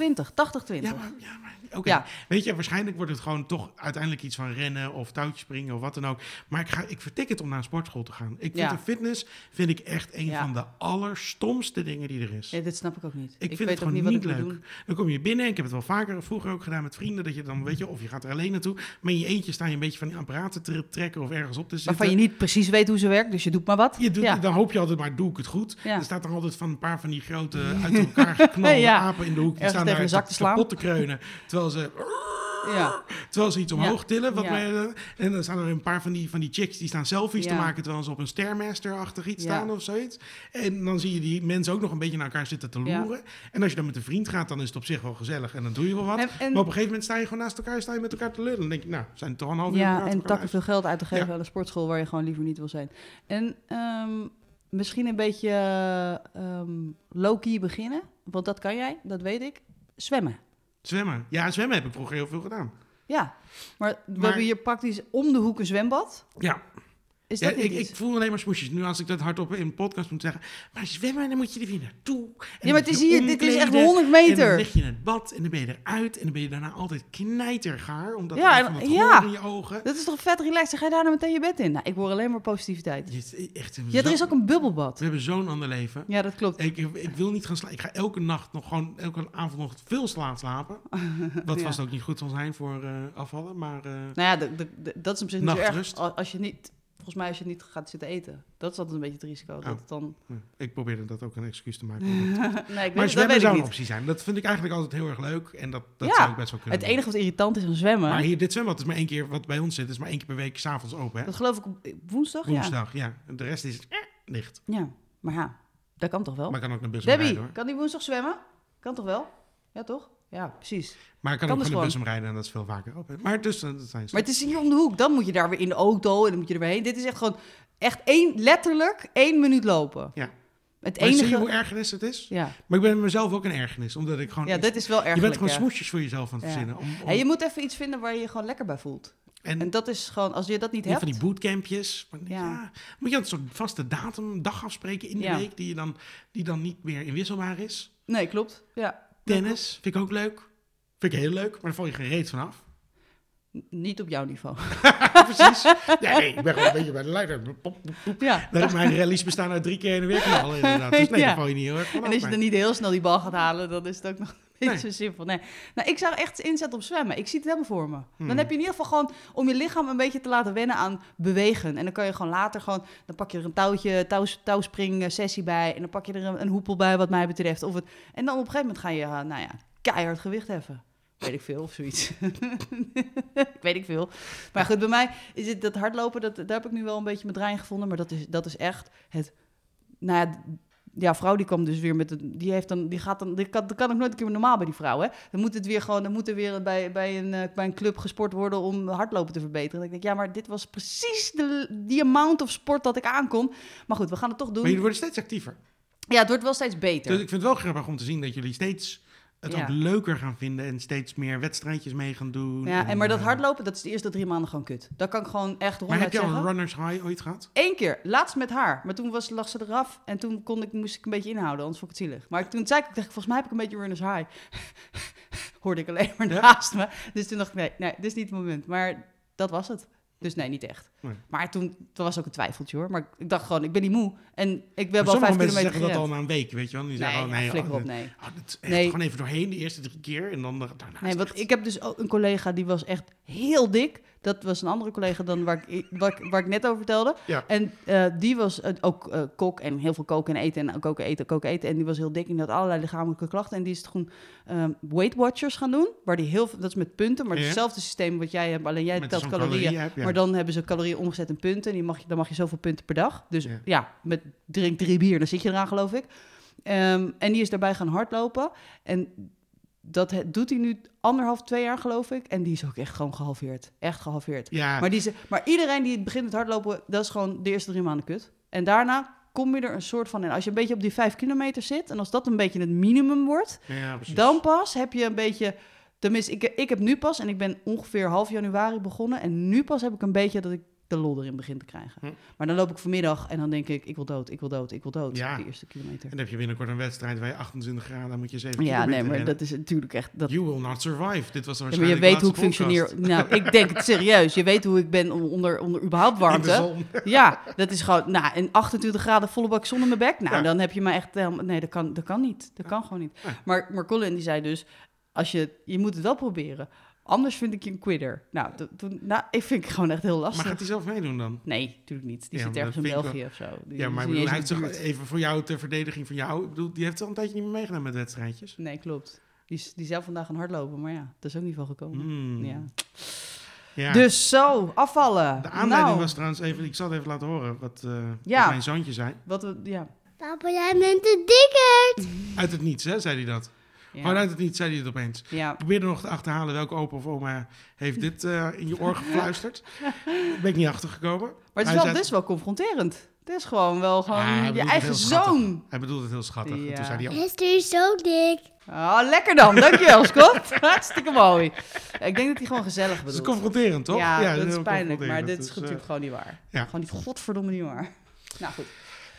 [SPEAKER 1] de- Ja, maar, ja, maar oké.
[SPEAKER 2] Ja.
[SPEAKER 1] Weet je, waarschijnlijk wordt het gewoon toch uiteindelijk iets van rennen of touwtjes springen of wat dan ook. Maar ik, ga, ik vertik het om naar een sportschool te gaan. Ik vind
[SPEAKER 2] Ja.
[SPEAKER 1] de fitness vind ik echt een
[SPEAKER 2] Ja.
[SPEAKER 1] van de allerstomste dingen die er is.
[SPEAKER 2] Ja, dit snap ik ook niet.
[SPEAKER 1] Ik, vind het
[SPEAKER 2] weet ook
[SPEAKER 1] gewoon niet,
[SPEAKER 2] niet wat ik moet
[SPEAKER 1] leuk.
[SPEAKER 2] doen.
[SPEAKER 1] Dan kom je binnen, ik heb het wel vaker vroeger ook gedaan met vrienden, dat je dan, weet je, of je gaat er alleen naartoe, maar in je eentje sta je een beetje van die apparaten te trekken of ergens op te zitten.
[SPEAKER 2] Waarvan je niet precies weet hoe ze werkt, dus je doet maar wat.
[SPEAKER 1] Je doet,
[SPEAKER 2] ja.
[SPEAKER 1] Dan hoop je altijd maar, doe ik het goed?
[SPEAKER 2] Ja.
[SPEAKER 1] Er staat dan altijd van een paar van die grote, uit elkaar geknalde
[SPEAKER 2] Ja.
[SPEAKER 1] apen in de hoek. Die
[SPEAKER 2] Ergens
[SPEAKER 1] staan
[SPEAKER 2] tegen
[SPEAKER 1] daar
[SPEAKER 2] een zak te slaan.
[SPEAKER 1] kapot te kreunen. Terwijl ze...
[SPEAKER 2] Ja.
[SPEAKER 1] Terwijl ze iets omhoog tillen. Wat
[SPEAKER 2] Ja.
[SPEAKER 1] mij- eh, en dan staan er een paar van die, van die chicks die staan selfies te
[SPEAKER 2] Ja.
[SPEAKER 1] maken terwijl ze op een Stairmaster-achtig iets
[SPEAKER 2] Ja.
[SPEAKER 1] staan of zoiets. En dan zie je die mensen ook nog een beetje naar elkaar zitten te
[SPEAKER 2] Ja.
[SPEAKER 1] loeren. En als je dan met een vriend gaat, dan is het op zich wel gezellig en dan doe je wel wat.
[SPEAKER 2] En- en-
[SPEAKER 1] maar op een gegeven moment sta je gewoon naast elkaar, sta je met elkaar te lullen. Dan denk je, nou, zijn het toch een half uur
[SPEAKER 2] Ja,
[SPEAKER 1] praten
[SPEAKER 2] en
[SPEAKER 1] elkaar
[SPEAKER 2] takken veel geld uit te geven
[SPEAKER 1] Ja.
[SPEAKER 2] aan een sportschool waar je gewoon liever niet wil zijn. En ehm, misschien een beetje ehm low-key beginnen, want dat kan jij, dat weet ik. Zwemmen.
[SPEAKER 1] Zwemmen. Ja, zwemmen heb ik vroeger heel veel gedaan.
[SPEAKER 2] Ja, maar we
[SPEAKER 1] Maar-
[SPEAKER 2] hebben hier praktisch om de hoek een zwembad.
[SPEAKER 1] Ja,
[SPEAKER 2] Is
[SPEAKER 1] ja
[SPEAKER 2] dat
[SPEAKER 1] ik,
[SPEAKER 2] niet iets?
[SPEAKER 1] ik voel alleen maar smoesjes. Nu als ik dat hardop in een podcast moet zeggen. Maar zwemmen, dan moet je er weer naartoe. En
[SPEAKER 2] ja, maar het is
[SPEAKER 1] dan moet je
[SPEAKER 2] hier, dit is echt
[SPEAKER 1] omkleden.
[SPEAKER 2] 100
[SPEAKER 1] En dan
[SPEAKER 2] meter.
[SPEAKER 1] lig je in het bad en dan ben je eruit. En dan ben je daarna altijd knijtergaar. Omdat
[SPEAKER 2] Ja,
[SPEAKER 1] er
[SPEAKER 2] en-
[SPEAKER 1] van dat
[SPEAKER 2] ja.
[SPEAKER 1] ja. in je ogen.
[SPEAKER 2] Dat is toch vet relaxed? Dan ga je daar nou meteen je bed in. Nou, ik hoor alleen maar positiviteit.
[SPEAKER 1] Dit is echt een
[SPEAKER 2] Ja, er
[SPEAKER 1] zo-
[SPEAKER 2] is ook een bubbelbad.
[SPEAKER 1] We hebben zo'n ander leven.
[SPEAKER 2] Ja, dat klopt.
[SPEAKER 1] Ik, ik wil niet gaan slapen. Ik ga elke nacht nog gewoon, elke avond nog veel slaap slapen. Wat
[SPEAKER 2] Ja.
[SPEAKER 1] vast ook niet goed zal zijn voor eh, afvallen. Maar eh,
[SPEAKER 2] Nou ja, de- de- de- dat is op zich niet zo erg.
[SPEAKER 1] Nachtrust.
[SPEAKER 2] Al- Als je niet, volgens mij als je niet gaat zitten eten. Dat is altijd een beetje het risico. Dat
[SPEAKER 1] Oh.
[SPEAKER 2] het dan...
[SPEAKER 1] ja, ik probeerde dat ook een excuus te maken. omdat-
[SPEAKER 2] Nee, ik
[SPEAKER 1] maar
[SPEAKER 2] weet, dat weet
[SPEAKER 1] zwemmen
[SPEAKER 2] ik
[SPEAKER 1] zou een
[SPEAKER 2] niet.
[SPEAKER 1] optie zijn. Dat vind ik eigenlijk altijd heel erg leuk. En dat, dat
[SPEAKER 2] Ja.
[SPEAKER 1] zou ik best wel kunnen
[SPEAKER 2] Het
[SPEAKER 1] doen.
[SPEAKER 2] enige wat irritant is aan zwemmen,
[SPEAKER 1] Maar hier, dit zwembad is maar één keer, wat bij ons zit, is maar één keer per week s'avonds open. Hè?
[SPEAKER 2] dat geloof ik op eh, woensdag,
[SPEAKER 1] Woensdag, ja. De rest is eh, dicht.
[SPEAKER 2] ja. Ja, maar ja, dat kan toch wel?
[SPEAKER 1] Maar ik kan ook naar bus
[SPEAKER 2] Debbie,
[SPEAKER 1] rijden hoor.
[SPEAKER 2] kan die woensdag zwemmen? Kan toch wel? Ja, toch? Ja, precies.
[SPEAKER 1] Maar ik kan,
[SPEAKER 2] kan
[SPEAKER 1] ook
[SPEAKER 2] dus
[SPEAKER 1] naar
[SPEAKER 2] gewoon.
[SPEAKER 1] bus rijden en dat is veel vaker open. Maar dus, eh, dat zijn
[SPEAKER 2] Maar het is hier om de hoek. Dan moet je daar weer in de auto en dan moet je er weer heen. Dit is echt gewoon, echt één, letterlijk één minuut lopen.
[SPEAKER 1] Ja.
[SPEAKER 2] Het
[SPEAKER 1] Maar zie je
[SPEAKER 2] enige...
[SPEAKER 1] hoe ergernis het is?
[SPEAKER 2] Ja,
[SPEAKER 1] Maar ik ben mezelf ook een ergernis, omdat ik gewoon...
[SPEAKER 2] ja
[SPEAKER 1] iets-
[SPEAKER 2] dit is wel erg.
[SPEAKER 1] je bent gewoon smoesjes voor jezelf aan het
[SPEAKER 2] Ja.
[SPEAKER 1] verzinnen. Om, om-
[SPEAKER 2] En je moet even iets vinden waar je je gewoon lekker bij voelt.
[SPEAKER 1] en
[SPEAKER 2] En dat is gewoon, als je dat niet
[SPEAKER 1] je hebt
[SPEAKER 2] hebt...
[SPEAKER 1] van die bootcampjes. Maar,
[SPEAKER 2] Ja.
[SPEAKER 1] ja. Moet je dan zo'n vaste datum, dag afspreken in de
[SPEAKER 2] Ja.
[SPEAKER 1] week, die, je dan, die dan niet meer inwisselbaar is?
[SPEAKER 2] Nee, klopt. Ja.
[SPEAKER 1] Tennis vind ik ook leuk. Vind ik heel leuk, maar daar val je geen reet van af.
[SPEAKER 2] N- Niet op jouw niveau.
[SPEAKER 1] Precies. Ja, nee, ik ben gewoon een beetje bij de leider.
[SPEAKER 2] Ja.
[SPEAKER 1] Dat mijn rallies bestaan uit drie keer en weer knallen inderdaad. Dus nee,
[SPEAKER 2] Ja.
[SPEAKER 1] daar val je niet heel erg van
[SPEAKER 2] En
[SPEAKER 1] af,
[SPEAKER 2] als je
[SPEAKER 1] maar-
[SPEAKER 2] dan niet heel snel die bal gaat halen, dan is het ook nog niet
[SPEAKER 1] Nee.
[SPEAKER 2] zo simpel. Nee. Nou, ik zou echt inzetten op zwemmen. Ik zie het helemaal voor me. Dan
[SPEAKER 1] Hmm.
[SPEAKER 2] heb je in ieder geval gewoon om je lichaam een beetje te laten wennen aan bewegen. En dan kan je gewoon later gewoon, dan pak je er een touwtje, touw, touwspring eh, sessie bij. En dan pak je er een, een hoepel bij, wat mij betreft. Of het, en dan op een gegeven moment ga je, eh, nou ja, keihard gewicht heffen. Weet ik veel, of zoiets. Weet ik veel. Maar goed, bij mij is het dat hardlopen, dat, daar heb ik nu wel een beetje mijn draai in gevonden. Maar dat is, dat is echt het... Nou ja, ja, vrouw die kwam dus weer met een, die heeft dan, die gaat dan, die kan, dat kan ook nooit een keer normaal bij die vrouw, hè? Dan moet het weer gewoon, dan moet er weer bij, bij, een, eh, bij een club gesport worden om hardlopen te verbeteren. En ik denk, ja, maar dit was precies de, die amount of sport dat ik aankom. Maar goed, we gaan het toch
[SPEAKER 1] Maar
[SPEAKER 2] doen.
[SPEAKER 1] jullie worden steeds actiever.
[SPEAKER 2] Ja, het wordt wel steeds beter.
[SPEAKER 1] Dus ik vind het wel grappig om te zien dat jullie steeds het
[SPEAKER 2] Ja.
[SPEAKER 1] ook leuker gaan vinden en steeds meer wedstrijdjes mee gaan doen.
[SPEAKER 2] Ja, en maar dat
[SPEAKER 1] eh,
[SPEAKER 2] hardlopen, dat is de eerste drie maanden gewoon kut. Dat kan ik gewoon echt
[SPEAKER 1] Maar
[SPEAKER 2] ronduit
[SPEAKER 1] heb je al
[SPEAKER 2] zeggen.
[SPEAKER 1] een runner's high ooit gehad?
[SPEAKER 2] Eén keer, laatst met haar. Maar toen was, lag ze eraf en toen kon ik, moest ik een beetje inhouden, anders vond ik het zielig. Maar toen zei ik, ik dacht, volgens mij heb ik een beetje runners high. Hoorde ik alleen maar
[SPEAKER 1] Ja?
[SPEAKER 2] naast me. Dus toen dacht ik, nee, nee, dit is niet het moment. Maar dat was het. Dus nee, niet echt.
[SPEAKER 1] Nee.
[SPEAKER 2] Maar toen, toen was ook een twijfeltje hoor. Maar ik dacht gewoon, ik ben niet moe. En ik
[SPEAKER 1] Maar
[SPEAKER 2] ben wel
[SPEAKER 1] sommige
[SPEAKER 2] vijf
[SPEAKER 1] mensen
[SPEAKER 2] kilometer
[SPEAKER 1] zeggen dat al
[SPEAKER 2] gerend.
[SPEAKER 1] na een week, weet je wel? Die zeggen,
[SPEAKER 2] Nee,
[SPEAKER 1] oh,
[SPEAKER 2] ja,
[SPEAKER 1] nee,
[SPEAKER 2] flikker
[SPEAKER 1] oh,
[SPEAKER 2] op, nee.
[SPEAKER 1] oh, dat is echt
[SPEAKER 2] Nee.
[SPEAKER 1] gewoon even doorheen de eerste drie keer en dan eh, da- daarna.
[SPEAKER 2] Nee, want ik heb dus ook een collega die was echt heel dik. Dat was een andere collega dan waar ik, waar ik, waar ik net over vertelde.
[SPEAKER 1] Ja.
[SPEAKER 2] En eh, die was eh, ook eh, kok en heel veel koken en eten en koken, eten, koken, eten. En die was heel dik en die had allerlei lichamelijke klachten. En die is gewoon ehm, Weight Watchers gaan doen. Waar die heel veel, dat is met punten, maar
[SPEAKER 1] Ja.
[SPEAKER 2] hetzelfde systeem wat jij hebt. Alleen jij
[SPEAKER 1] Met
[SPEAKER 2] telt
[SPEAKER 1] zo'n
[SPEAKER 2] calorieën.
[SPEAKER 1] heb, ja.
[SPEAKER 2] Maar dan hebben ze calorieën omgezet in punten. En die mag je, dan mag je zoveel punten per dag. Dus ja,
[SPEAKER 1] Ja.
[SPEAKER 2] met drink drie bier, dan zit je eraan, geloof ik. Ehm, en die is daarbij gaan hardlopen. En dat he- doet hij nu anderhalf, twee jaar, geloof ik. En die is ook echt gewoon gehalveerd. Echt gehalveerd.
[SPEAKER 1] ja,
[SPEAKER 2] Maar, die ze, maar iedereen die begint met hardlopen, dat is gewoon de eerste drie maanden kut. En daarna kom je er een soort van in. Als je een beetje op die vijf kilometer zit... en als dat een beetje het minimum wordt...
[SPEAKER 1] ja, precies.
[SPEAKER 2] Dan pas heb je een beetje. Tenminste, ik, ik heb nu pas, en ik ben ongeveer half januari begonnen. En nu pas heb ik een beetje dat ik de lol erin begin te krijgen.
[SPEAKER 1] Hm.
[SPEAKER 2] Maar dan loop ik vanmiddag en dan denk ik: ik wil dood, ik wil dood, ik wil dood.
[SPEAKER 1] Ja.
[SPEAKER 2] De eerste kilometer.
[SPEAKER 1] En dan heb je binnenkort een wedstrijd waar je 28 graden, dan moet je 7
[SPEAKER 2] Ja,
[SPEAKER 1] kilometer
[SPEAKER 2] nee, maar
[SPEAKER 1] rennen.
[SPEAKER 2] dat is natuurlijk echt. Dat,
[SPEAKER 1] You will not survive. Dit was
[SPEAKER 2] Ja, maar je
[SPEAKER 1] waarschijnlijk
[SPEAKER 2] weet hoe ik
[SPEAKER 1] de laatste
[SPEAKER 2] functioneer. Nou, ik denk het serieus. Je weet hoe ik ben onder, onder überhaupt
[SPEAKER 1] podcast. In de
[SPEAKER 2] warmte.
[SPEAKER 1] zon.
[SPEAKER 2] Ja, dat is gewoon. Nou, en 28 graden volle bak zon in mijn bek. Nou,
[SPEAKER 1] Ja.
[SPEAKER 2] dan heb je me echt. helemaal- Nee, dat kan, dat kan niet. Dat kan gewoon niet.
[SPEAKER 1] Nee.
[SPEAKER 2] Maar, maar Colin die zei dus: als je, je moet het wel proberen. Anders vind ik je een quidder. Nou, to- toen, nou ik vind het gewoon echt heel
[SPEAKER 1] Maar
[SPEAKER 2] lastig.
[SPEAKER 1] gaat hij zelf meedoen dan?
[SPEAKER 2] Nee, natuurlijk niet. Die
[SPEAKER 1] Ja,
[SPEAKER 2] zit
[SPEAKER 1] maar
[SPEAKER 2] ergens in
[SPEAKER 1] dat vind ik
[SPEAKER 2] België of zo. Die
[SPEAKER 1] Ja,
[SPEAKER 2] is
[SPEAKER 1] maar ik bedoel,
[SPEAKER 2] niet eens
[SPEAKER 1] hij
[SPEAKER 2] in
[SPEAKER 1] heeft
[SPEAKER 2] de
[SPEAKER 1] zich
[SPEAKER 2] buurt.
[SPEAKER 1] even voor jou ter verdediging van jou. Ik bedoel, die heeft al een tijdje niet meer meegedaan met wedstrijdjes.
[SPEAKER 2] Nee, klopt. Die, is- die zou vandaag gaan hardlopen, maar ja, dat is ook niet van gekomen.
[SPEAKER 1] Hmm.
[SPEAKER 2] Ja.
[SPEAKER 1] Ja.
[SPEAKER 2] Dus zo, afvallen.
[SPEAKER 1] de aanleiding
[SPEAKER 2] Nou,
[SPEAKER 1] was trouwens even, ik zal het even laten horen wat, eh,
[SPEAKER 2] Ja.
[SPEAKER 1] wat mijn zoontje zei.
[SPEAKER 2] Wat we, ja.
[SPEAKER 4] Papa, jij bent te dikker.
[SPEAKER 1] Uit het niets, hè, zei hij dat.
[SPEAKER 2] Ja.
[SPEAKER 1] Gewoon uit het niets zei hij het opeens.
[SPEAKER 2] ja.
[SPEAKER 1] Ik probeerde nog te achterhalen welke opa of oma heeft dit eh, in je oor gefluisterd. Daar ben ik niet achtergekomen.
[SPEAKER 2] Maar het
[SPEAKER 1] Hij
[SPEAKER 2] is wel,
[SPEAKER 1] zei-
[SPEAKER 2] dit is wel confronterend. Het is gewoon wel gewoon
[SPEAKER 1] Ah, hij
[SPEAKER 2] je
[SPEAKER 1] bedoelt het
[SPEAKER 2] eigen
[SPEAKER 1] heel schattig.
[SPEAKER 2] zoon.
[SPEAKER 1] Hij bedoelde het heel schattig. En
[SPEAKER 2] Ja.
[SPEAKER 1] Toen zei hij, oh,
[SPEAKER 4] Hij is natuurlijk zo dik.
[SPEAKER 2] Ah, lekker dan. Dankjewel, Scott. Hartstikke mooi. Ik denk dat hij gewoon gezellig
[SPEAKER 1] het is
[SPEAKER 2] bedoelt.
[SPEAKER 1] confronterend, toch?
[SPEAKER 2] Ja,
[SPEAKER 1] heel
[SPEAKER 2] dat is pijnlijk,
[SPEAKER 1] confronterend.
[SPEAKER 2] maar dit is
[SPEAKER 1] Dus, eh,
[SPEAKER 2] natuurlijk gewoon niet waar.
[SPEAKER 1] ja.
[SPEAKER 2] Gewoon niet, godverdomme niet waar. Nou goed,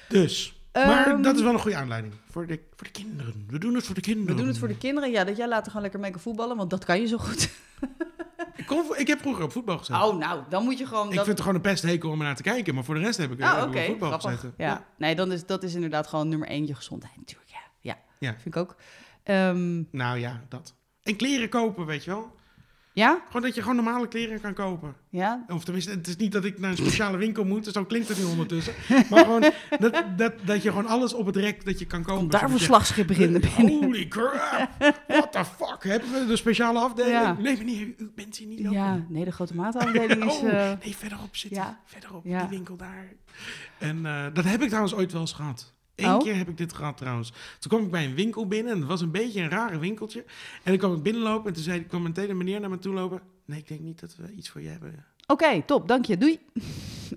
[SPEAKER 1] Dus, maar
[SPEAKER 2] Ehm,
[SPEAKER 1] dat is wel een goede aanleiding. Voor de, voor de kinderen. We doen het voor de kinderen.
[SPEAKER 2] we doen het voor de kinderen. Ja, dat jij later gewoon lekker mee kan voetballen, want dat kan je zo goed.
[SPEAKER 1] Ik, kon vo- ik heb vroeger op voetbal gezeten.
[SPEAKER 2] Oh, nou, dan moet je gewoon...
[SPEAKER 1] ik
[SPEAKER 2] dat...
[SPEAKER 1] vind het gewoon een pest hekel om er naar te kijken. Maar voor de rest heb ik, heb ik
[SPEAKER 2] oh,
[SPEAKER 1] op
[SPEAKER 2] oké,
[SPEAKER 1] voetbal
[SPEAKER 2] grappig.
[SPEAKER 1] gezeten.
[SPEAKER 2] Ja. nee, dan is, dat is inderdaad gewoon nummer één, je gezondheid natuurlijk. Ja, ja.
[SPEAKER 1] Ja.
[SPEAKER 2] vind ik ook. Ehm,
[SPEAKER 1] Nou ja, dat. En kleren kopen, weet je wel.
[SPEAKER 2] ja,
[SPEAKER 1] Gewoon dat je gewoon normale kleren kan kopen.
[SPEAKER 2] ja,
[SPEAKER 1] Of tenminste, het is niet dat ik naar een speciale winkel moet. Dus dan klinkt het nu ondertussen. Maar gewoon dat, dat, dat je gewoon alles op het rek dat je kan kopen.
[SPEAKER 2] komt daar
[SPEAKER 1] zodat je-
[SPEAKER 2] verslagschip beginnen
[SPEAKER 1] Eh,
[SPEAKER 2] binnen.
[SPEAKER 1] Holy crap! What the fuck? Hebben we de speciale afdeling?
[SPEAKER 2] Ja.
[SPEAKER 1] Nee meneer, u bent hier niet welkom.
[SPEAKER 2] Ja, nee, de grote maatafdeling is...
[SPEAKER 1] Oh,
[SPEAKER 2] eh,
[SPEAKER 1] nee, verderop zitten.
[SPEAKER 2] ja.
[SPEAKER 1] Verderop,
[SPEAKER 2] Ja.
[SPEAKER 1] die winkel daar. En eh, dat heb ik trouwens ooit wel eens gehad. Eén
[SPEAKER 2] Oh?
[SPEAKER 1] keer heb ik dit gehad trouwens. Toen kwam ik bij een winkel binnen en het was een beetje een rare winkeltje. En dan kwam ik binnenlopen en toen zei, kwam meteen een meneer naar me toe lopen. Nee, ik denk niet dat we iets voor je hebben.
[SPEAKER 2] Oké, top, dank je, doei.